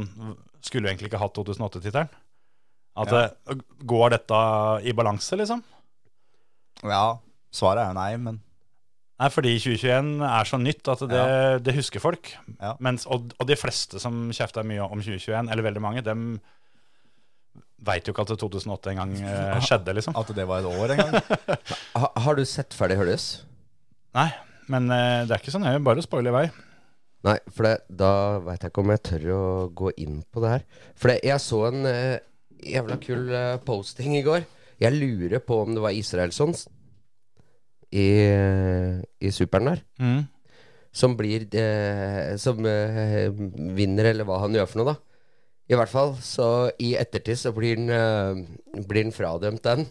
C: skulle egentlig ikke hatt 2008-tittelen. At eh, Går dette i balanse, liksom?
D: Ja. Svaret er jo nei, men
C: Nei, fordi 2021 er så nytt at det, det husker folk.
D: Ja.
C: Mens, og, og de fleste som kjefter mye om 2021, eller veldig mange, dem veit jo ikke at 2008 engang eh, skjedde, liksom.
D: at det var et år en
E: (laughs)
D: gang.
E: Ha, har du sett ferdig Høljes?
C: Nei, men eh, det er ikke så nøye. Bare spoil i vei.
E: Nei, for det, da veit jeg ikke om jeg tør å gå inn på det her. For det, jeg så en eh, jævla kul eh, posting i går. Jeg lurer på om det var Israelssons i, eh, i superen der. som blir eh, Som eh, vinner, eller hva han gjør for noe, da. I hvert fall. Så i ettertid så blir han, eh, blir han fradømt den.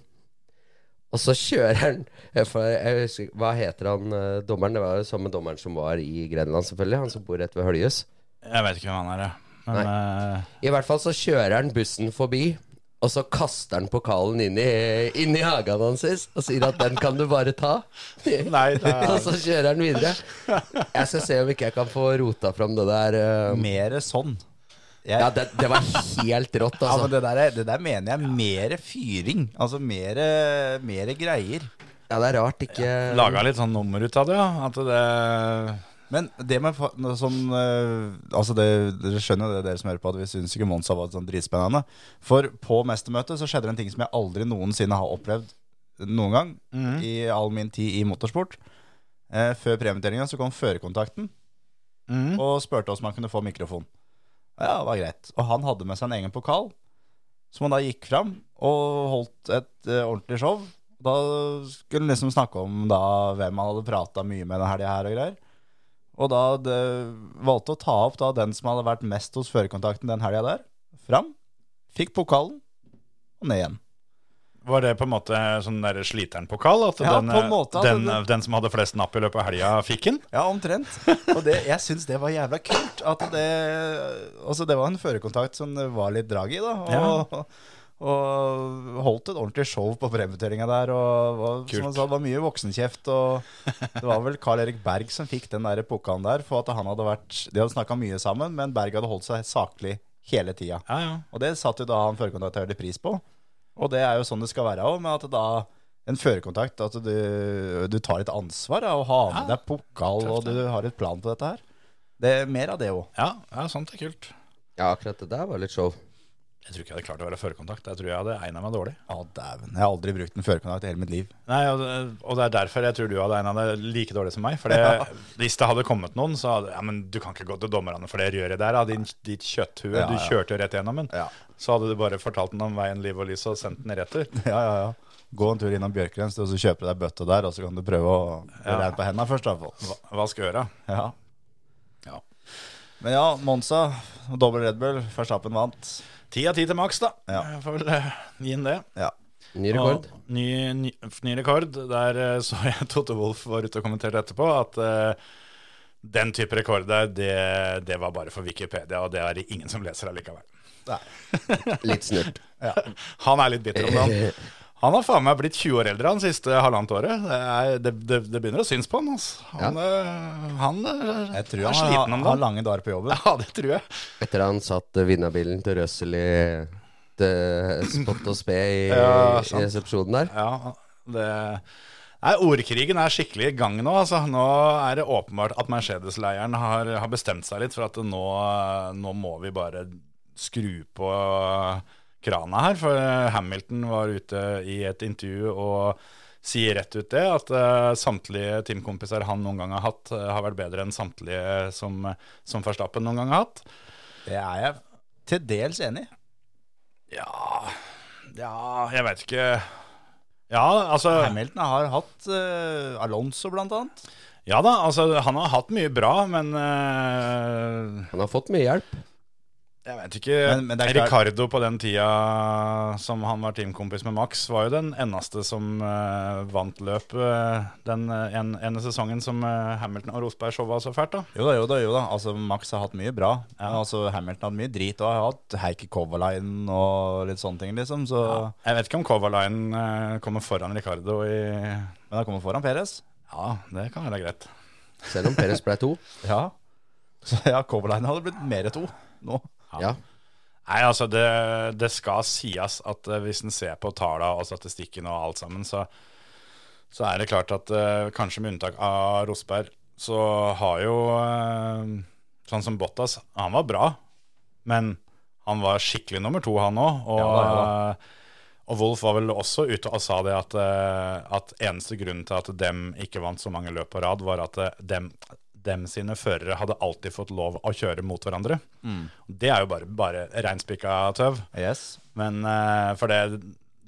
E: Og så kjører han jeg får- jeg husker, ikke- Hva heter han eh, dommeren? Det var jo samme dommeren som var i Grenland, selvfølgelig. Han som bor rett ved Høljes.
C: Jeg vet ikke hvem han er, jeg. men eh,
E: I hvert fall så kjører han bussen forbi. Og så kaster han pokalen inn i, inn i hagen hans og sier at 'den kan du bare ta'.
C: Nei, (laughs) det
E: (laughs)
C: er
E: Og så kjører han videre. Jeg skal se om ikke jeg kan få rota fram det der eh,
D: Mere sånn.
E: Ja, det, det var helt rått,
D: Ja, men
E: altså.
D: det der, er- det der mener jeg mere fyring. Altså mere, mere greier.
E: Ja, det er rart ikke
C: laga litt sånn nummer ut av det, ja. At det
D: Men det med fa- noe som eh, Altså, det, dere skjønner det, dere som hører på, at vi syns ikke Monza var sånn dritspennende. For på mestermøtet så skjedde det en ting som jeg aldri noensinne har opplevd noen gang
C: Mhm.
D: i all min tid i motorsport. Eh, før premieutdelinga så kom førerkontakten
C: Mhm.
D: og spurte oss om han kunne få mikrofon. Ja, det var greit. Og han hadde med seg en egen pokal, som han da gikk fram og holdt et eh, ordentlig show. Da skulle han liksom snakke om da hvem han hadde prata mye med denne helga her og greier. Og da det, valgte å ta opp da den som hadde vært mest hos førerkontakten den helga der, fram. Fikk pokalen, og ned igjen.
C: Var det på en måte sånn der sliteren-pokal? At
D: Ja,
C: den, eh,
D: på en måte, at
C: den,
D: det-
C: den som hadde flest napp i løpet av helga, fikk den?
D: Ja, omtrent. Og det, jeg syns det var jævla kult. At det Altså, det var en førerkontakt som det var litt drag i, da. Og, og holdt et ordentlig show på premieutdelinga der. Og var,
C: Kult.
D: som han sa, det var mye voksenkjeft. Og det var vel Carl Erik Berg som fikk den der pokalen der, for at han hadde vært De hadde snakka mye sammen, men Berg hadde holdt seg saklig hele tida.
C: Ja, ja.
D: Og det satt jo da han førerkontaktørte pris på. Og det er jo sånn det skal være òg, men at da en førerkontakt At du, du tar litt ansvar da, og har med
C: Ja.
D: deg pokal,
C: Tøft,
D: og du har et plan på dette her. Det er Mer av det òg.
C: Ja, ja sånt er kult.
E: Ja, akkurat det der var litt show.
C: Jeg tror ikke jeg hadde klart å være førerkontakt. Jeg tror jeg hadde egna meg dårlig.
D: Å, dæven. Jeg har aldri brukt en førerkontakt i hele mitt liv. (laughs)
C: Nei, og, og det er derfor jeg tror du hadde egna deg like dårlig som meg. For det, hvis det hadde kommet noen, så hadde ja, men du kan ikke gå til dommerne for det røret der, da, din, ditt kjøtthue.
D: Ja,
C: Du
D: ja.
C: kjørte jo rett gjennom den.
D: Ja.
C: Så hadde du bare fortalt den om veien, liv og lys, og sendt den i retur.
D: Ja, ja, ja. Gå en tur innom Bjørkrens, og så kjøper du deg bøtte der, og så kan du prøve å ja.
C: Ja.
D: regne på hendene først. Da.
C: Va- Vask øra.
D: Ja.
C: Ja.
D: Men ja, Monza, dobbel Red Bull, Verstappen vant.
C: Ti av ti til maks, da.
D: Ja.
C: Jeg får vel eh, gi den det.
D: Ja.
E: Ny rekord.
C: Og Ny, ny, ny rekord. Der eh, så jeg Totte Wolff var ute og kommenterte etterpå at eh, den type rekord der, det, det var bare for Wikipedia, og det er det ingen som leser allikevel.
D: Nei.
E: Litt snurt.
C: (laughs) Han er litt bitter om det. Han, han har faen meg blitt 20 år eldre han siste halvannet året. Det, er, det, det, det begynner å synes på han, altså. Han, eh, han, eh,
D: Jeg tror
C: er
D: han har,
C: sliten om
D: har
C: dagen.
D: lange dager på jobben.
C: (laughs) Ja, det tror jeg.
E: Etter han satt eh, vinnerbilen til Russell i eh, spott og spe i,
C: Ja,
E: i
C: sant.
E: resepsjonen der.
C: Ja, det... Nei, Ordkrigen er skikkelig i gang nå. altså. Nå er det åpenbart at Mercedes-leiren har, har bestemt seg litt for at nå, nå må vi bare skru på krana her. For Hamilton var ute i et intervju og sier rett ut det, at eh, samtlige teamkompiser han noen gang har hatt, eh, har vært bedre enn samtlige som, som Verstappen noen gang har hatt.
D: Det er jeg til dels enig i.
C: Ja, ja jeg veit ikke. Ja, altså
D: Hamilton har hatt eh, Alonso blant annet.
C: Ja da, altså han har hatt mye bra, men eh,
E: Han har fått mye hjelp.
C: jeg vet ikke
D: Men- men det er klart-
C: Ricardo på den tida som han var teamkompis med Max, var jo den eneste som eh, vant løp eh, den eh, en, ene sesongen som eh, Hamilton og Rosberg showa så fælt, da.
D: Jo da, jo da. jo da Altså Max har hatt mye bra. Men altså Hamilton har hatt mye drit og har hatt Heikki Kovalainen og litt sånne ting, liksom. Så,
C: Jeg vet ikke om Kovalainen eh, kommer foran Ricardo i
D: Men han kommer foran Perez. (laughs)
C: Ja, det kan være greit.
E: Selv om Perez ble to.
D: Ja. Så ja, Kovalainen hadde blitt mer to nå.
E: Ja.
C: Nei, altså det, det skal sies at eh, hvis en ser på tallene og statistikken og alt sammen, så, så er det klart at eh, kanskje med unntak av Rosberg, så har jo eh, sånn som Bottas, han var bra, men han var skikkelig nummer to han òg. Og, eh,
D: Ja da, ja
C: og Wolff var vel også ute og sa det at, eh, at eneste grunnen til at dem ikke vant så mange løp på rad, var at eh, dem, dem sine førere hadde alltid fått lov å kjøre mot hverandre.
D: Mm.
C: Det er jo bare, bare reinspikka tøv.
D: Yes.
C: Men eh, for det,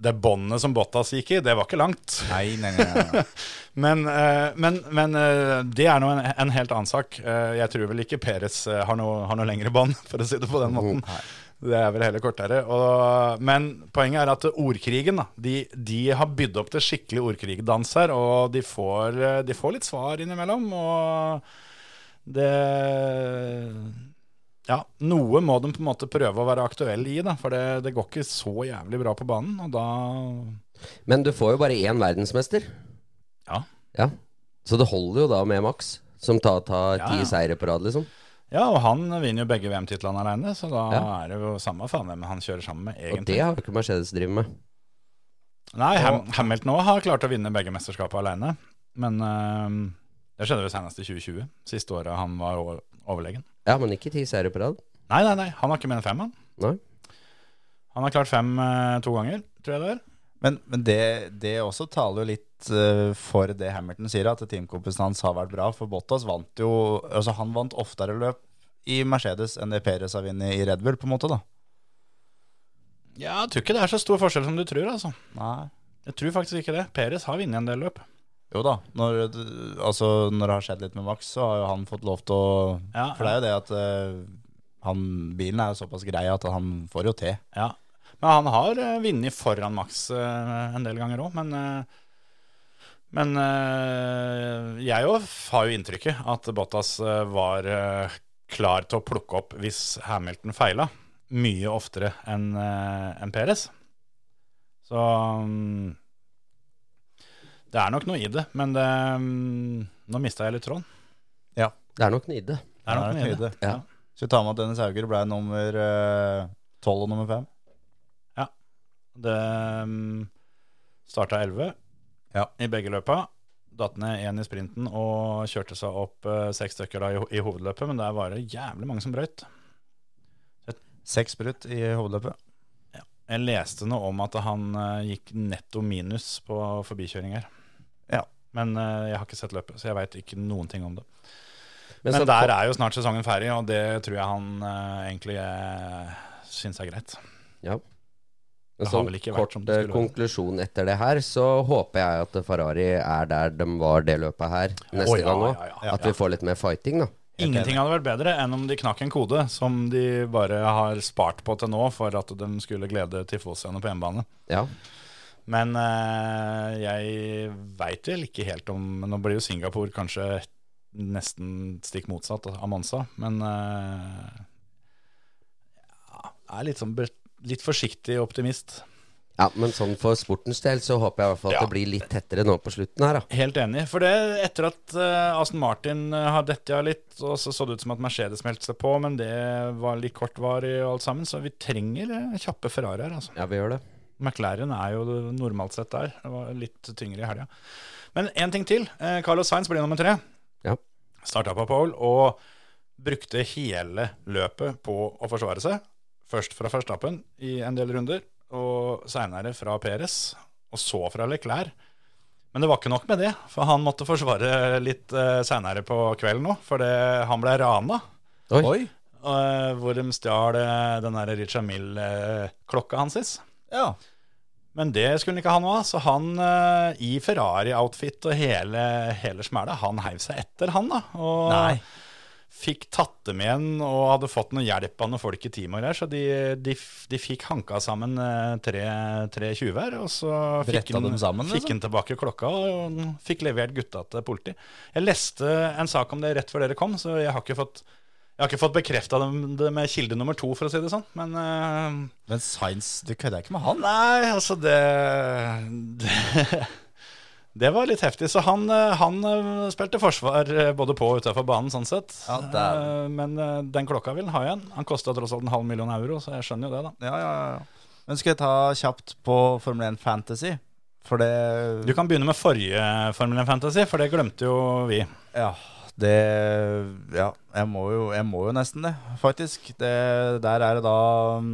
C: det båndet som Bottas gikk i, det var ikke langt.
D: Nei, nei, nei.
C: (laughs)
D: nei, nei.
C: Men, eh, men, men eh, det er nå en, en helt annen sak. Eh, jeg tror vel ikke Peres eh, har noe, har noe lengre bånd, for å si det på den måten. Det er vel heller kortere. Og, men poenget er at ordkrigen, da, de, de har bydd opp til skikkelig ordkrigdans her, og de får, eh, de får litt svar innimellom, og det ja, noe må de på en måte prøve å være aktuell i, da, for det, det går ikke så jævlig bra på banen. Og da
E: Men du får jo bare én verdensmester.
C: Ja,
E: Ja. Så det holder jo da med Max, som tar, tar
C: Ja,
E: ti
C: ja.
E: seire på rad, liksom.
C: ja og han vinner jo begge VM-titlene aleine, så da
E: Ja.
C: er det jo samme faen hvem han kjører sammen med,
E: Og det
C: egentlig.
E: har jo ikke Mercedes drevet med.
C: Nei, Ham Hamilton òg har klart å vinne begge mesterskapene aleine, men eh, det skjedde vel senest i 2020, siste året han var o- overlegen.
E: Ja, men ikke ti seire på rad.
C: Nei, nei, nei, han har ikke mer enn fem, han.
E: Nei.
C: Han har klart fem eh, to ganger, tror jeg det er.
D: Men, men det, det også taler jo litt eh, for det Hamilton sier, at teamkompisen hans har vært bra. For Bottas vant jo Altså, han vant oftere løp i Mercedes enn det Perez har vunnet i Red Bull, på en måte, da.
C: Ja, jeg tror ikke det er så stor forskjell som du tror, altså.
D: Nei.
C: Jeg tror faktisk ikke det. Peres har vunnet en del løp.
D: Jo da, når, du- altså, når det har skjedd litt med Max, så har jo han fått lov til å
C: Ja,
D: For det er jo det at eh, han, bilen er jo såpass grei at han får jo til.
C: Ja. Men han har eh, vunnet foran Max eh, en del ganger òg, men eh, Men eh, jeg òg har jo inntrykket at Bottas eh, var eh, klar til å plukke opp hvis Hamilton feila, mye oftere enn eh, enn Perez. Så mm, det er nok noe i det, men det, mm, nå mista jeg litt tråden.
E: Det er nok nidde.
C: Det er nok noe i det.
E: Ja.
D: Skal vi ta med at Dennis Hauger ble nummer eh, tolv og nummer fem?
C: Det um, starta 11
D: Ja.
C: i begge løpa. Datt ned én i sprinten og kjørte seg opp eh, seks stykker da i, ho- i hovedløpet, men der var det jævlig mange som brøyt.
D: Seks brutt i hovedløpet.
C: Jeg leste noe om at han eh, gikk netto minus på forbikjøringer.
D: Ja.
C: Men eh, jeg har ikke sett løpet, så jeg veit ikke noen ting om det.
E: Men,
C: Men,
E: sånn,
C: der er jo snart sesongen ferdig, og det tror jeg han eh, egentlig uh, syns er greit.
E: ja.
C: Det
E: Men
C: har
E: sånn
C: vel ikke vært
E: kort
C: som det
E: eh,
C: skulle være.
E: konklusjon etter det her, så håper jeg at Ferrari er der de var det løpet her neste
C: Å, ja,
E: gang òg.
C: ja, ja, ja.
E: At vi får litt mer fighting, da.
C: Ingenting hadde vært bedre enn om de knakk en kode som de bare har spart på til nå for at de skulle glede tifosiene på hjemmebane.
E: Ja.
C: Men eh, jeg veit vel ikke helt om Nå blir jo Singapore kanskje nesten stikk motsatt av Monza, men eh, ja, jeg er litt, sånn, be- litt forsiktig optimist.
E: ja, men sånn for sportens del så håper jeg i hvert fall at
C: Ja.
E: det blir litt tettere nå på slutten her, da.
C: Helt enig. For det, etter at eh, Aston Martin eh, har dette av litt, og så så det ut som at Mercedes meldte seg på, men det var litt kortvarig og alt sammen, så vi trenger eh, kjappe Ferrarier, altså.
E: Ja, vi gjør det.
C: McLaren er jo normalt sett der. Det var litt tyngre i helga. Men én ting til. Eh, Carlos Sainz blir nummer tre.
E: Ja.
C: Starta på pole og brukte hele løpet på å forsvare seg. Først fra Verstappen i en del runder, og seinere fra Perez, og så fra Leclerc. Men det var ikke nok med det, for han måtte forsvare litt eh, seinere på kvelden òg, for det- han ble rana.
E: Oi.
C: eh, hvor de stjal eh, den der Richard Mill-klokka hans. Sist.
D: Ja.
C: Men det skulle han ikke ha noe av, så han eh, i Ferrari-outfit og hele, hele smæla, han heiv seg etter han, da. Og
D: Nei.
C: fikk tatt dem igjen og hadde fått noe hjelp av noen folk i teamet og greier, så de, de, f- de fikk hanka sammen eh, tre, tre tjuver, og så fikk
D: Bretta
C: han,
D: dem sammen,
C: fikk
D: liksom?
C: han tilbake klokka og han fikk levert gutta til politi. Jeg leste en sak om det rett før dere kom, så jeg har ikke fått, jeg har ikke fått bekrefta det med kilde nummer to, for å si det sånn, men eh,
D: Men Sainz, du kødder ikke med han?
C: Nei, altså det Det, det var litt heftig. Så han, eh, han eh, spilte forsvar eh, både på og utafor banen, sånn sett.
D: Ja, dæven.
C: Eh, Men eh, den klokka vil han ha igjen. Han kosta tross alt en halv million euro, så jeg skjønner jo det, da.
D: Ja, ja, ja. Men skal jeg ta kjapt på Formel 1 Fantasy? For det
C: Du kan begynne med forrige Formel 1 Fantasy, for det glemte jo vi.
D: Ja, det Ja, jeg må jo, jeg må jo nesten det, faktisk. Det, der er det da mm,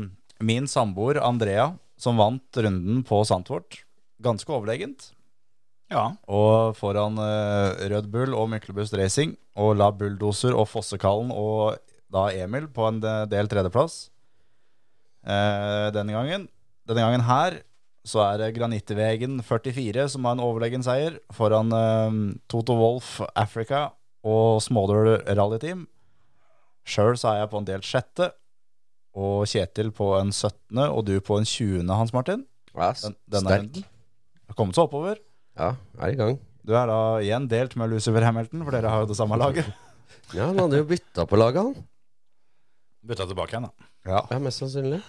D: min samboer Andrea som vant runden på Sandfort. Ganske overlegent.
C: Ja.
D: Og foran eh, Rød Bull og Myklebust Racing og La Bulldoser og Fossekallen og da Emil på en de- del tredjeplass eh, denne gangen. Denne gangen her så er det Granittvegen 44 som har en overlegen seier foran eh, Toto Wolff Africa og Smådøl Rallyteam. Sjøl så er jeg på en delt sjette, og Kjetil på en 17., og du på en 20., Hans Martin.
E: Ja, s-
D: Den, denne
E: sterk.
D: runden. Det har kommet seg oppover.
E: Ja, er i gang.
D: Du er da igjen delt med Lucifer Hamilton, for dere har jo det samme laget.
E: Ja, han hadde jo bytta på laget, han.
C: Bytta tilbake igjen, da.
D: Ja.
E: Ja, mest sannsynlig.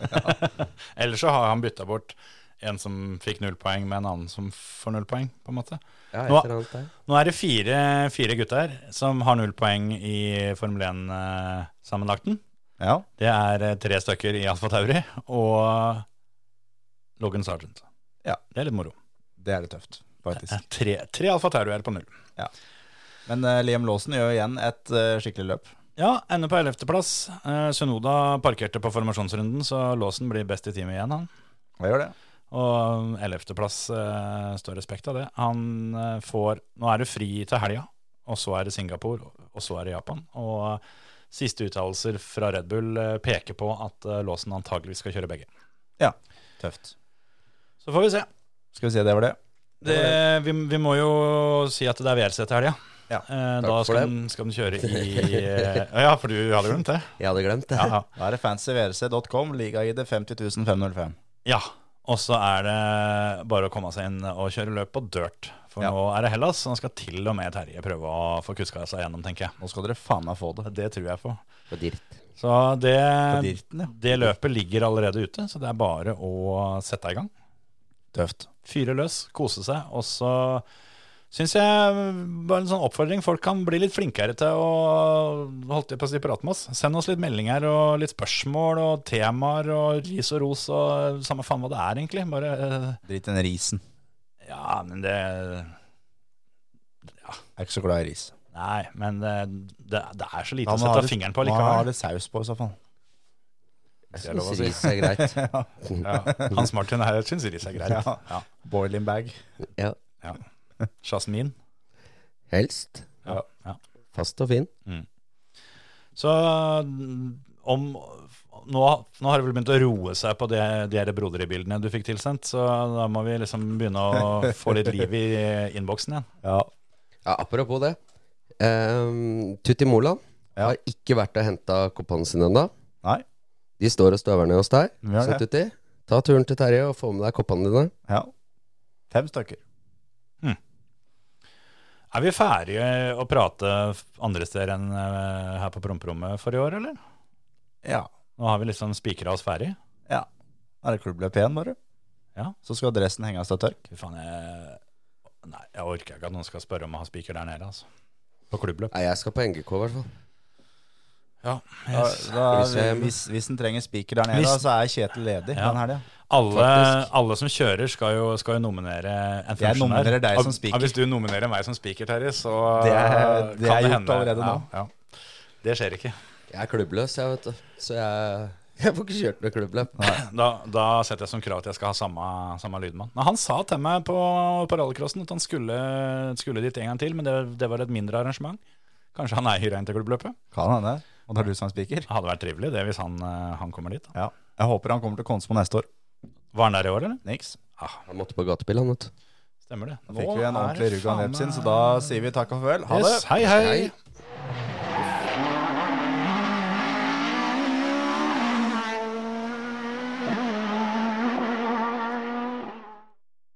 C: Ellers så har han bytta bort en som fikk null poeng, med en annen som får null poeng, på en måte.
E: Ja, et
C: Nå-
E: eller annet der.
C: Nå er det fire, fire gutter som har null poeng i Formel 1-sammenlagten.
D: ja.
C: Det er eh, tre stykker i Alfa Tauri og Logan Sargent.
D: Ja.
C: Det er litt moro.
D: Det er litt tøft,
C: Det
D: faktisk.
C: er Tre, tre Alfa Taurier på null.
D: Men eh, Liam Lawson gjør igjen et eh, skikkelig løp.
C: Ja, ender på 11.-plass. Eh, Sunoda parkerte på formasjonsrunden, så Låsen blir best i teamet igjen, han.
D: Hva gjør det?
C: Og 11.-plass eh, står respekt av det. Han eh, får Nå er det fri til helga, og så er det Singapore, og så er det Japan. Og eh, siste uttalelser fra Red Bull eh, peker på at eh, Låsen antageligvis skal kjøre begge.
D: Ja, tøft.
C: Så får vi se.
D: Skal vi si det var det?
C: Det, vi, vi må jo si at det er VRC til helga.
D: Ja,
C: Eh,
E: takk
C: da
E: for
C: skal
E: det.
C: den, skal den kjøre i eh, Ja, for du hadde glemt det?
E: Jeg hadde glemt det.
C: Ja, ja.
D: Da er det fancyvrc.com, ligaid 50505.
C: Ja, og så er det bare å komme seg inn og kjøre løp på dirt. For
D: Ja.
C: nå er det Hellas, og nå skal til og med Terje prøve å få kuska seg gjennom, tenker jeg.
D: Nå skal dere faen meg få det.
C: Det tror jeg på.
E: På dirt.
C: Så det,
D: På dirten, ja.
C: det løpet ligger allerede ute, så det er bare å sette i gang.
D: Tøft.
C: Fyre løs, kose seg. Og så syns jeg bare en sånn oppfordring folk kan bli litt flinkere til å holdt jeg på å si prate med oss. Send oss litt meldinger og litt spørsmål og temaer og ris og ros og samme faen hva det er, egentlig. Bare eh,
D: Drit i den risen.
C: Ja, men det
D: Jeg er ikke så glad i ris.
C: Nei, men det, det, det er så lite å
D: Ja, men har
C: sette
D: litt-
C: fingeren på
D: Man har
C: likevel.
D: litt saus på, i så fall. (laughs)
E: Jeg
C: Det er lov å si.
E: syns ris er greit.
C: Ja. (laughs) Hans Martin her syns ris er greit.
D: Ja.
C: Ja.
D: Boiling bag.
E: Ja.
C: Ja. Jasmin.
E: Helst.
C: Ja. Ja.
E: Fast og fin.
C: Så mm, om nå, nå har det vel begynt å roe seg på de, de her broderibildene du fikk tilsendt, så da må vi liksom begynne å få litt liv i innboksen igjen.
D: Ja.
E: Ja, apropos det. Um, Tutti Moland
D: Ja.
E: har ikke vært og henta kupongene sine ennå.
D: Nei.
E: De står og støver ned hos deg.
D: Vi har
E: Så
D: det.
E: Tutti, ta turen til Terje og få med deg koppene dine.
D: Ja. Fem stykker.
C: Er vi ferdige å prate andre steder enn eh, her på promperommet for i år, eller?
D: Ja.
C: Nå har vi liksom spikra oss ferdig.
D: ja. Da er det klubbløp igjen, bare.
C: Ja.
D: Så skal dressen henges til tørk.
C: Fy faen, jeg Nei, jeg orker ikke at noen skal spørre om å ha spiker der nede, altså. På klubbløp.
E: Nei, jeg skal på NGK, i hvert fall.
C: Ja,
D: Da, da,
E: Hvis jeg-
D: hvis, hvis en trenger spiker der nede,
C: Hvis-
D: da, så er Kjetil ledig
C: Ja.
D: den helga.
C: alle,
E: Faktisk.
C: alle som kjører, skal jo, skal jo nominere en
D: Jeg
C: funksjonær.
D: nominerer deg
C: Ja,
D: som speaker.
C: Ja, hvis du nominerer meg som speaker, Terje, så
D: Det er-
C: eh,
D: det
C: kan
D: er gjort allerede
C: ja,
D: nå.
C: Ja. Det skjer ikke.
E: Jeg er klubbløs, jeg, vet du. Så jeg, (laughs) jeg får ikke kjørt noe klubbløp.
C: Da, da setter jeg som krav at jeg skal ha samme, samme lydmann. Men han sa til meg på, på rallycrossen at han skulle, skulle dit en gang til, men det, det var et mindre arrangement. Kanskje han eier en til klubbløpet?
D: Kan hende. Og da er du som er spiker.
C: Det hadde vært trivelig det hvis han, eh, han kommer dit. da.
D: Ja. Jeg håper han kommer til Konsmo neste år.
C: Var han der i år, eller?
D: Niks.
E: Han måtte på gatebil, han, vet du.
C: Stemmer det.
D: Da fikk vi en ordentlig rugg av Nepsin, så da sier vi takk og farvel.
C: Ha det. Hei, hei.
E: Hei.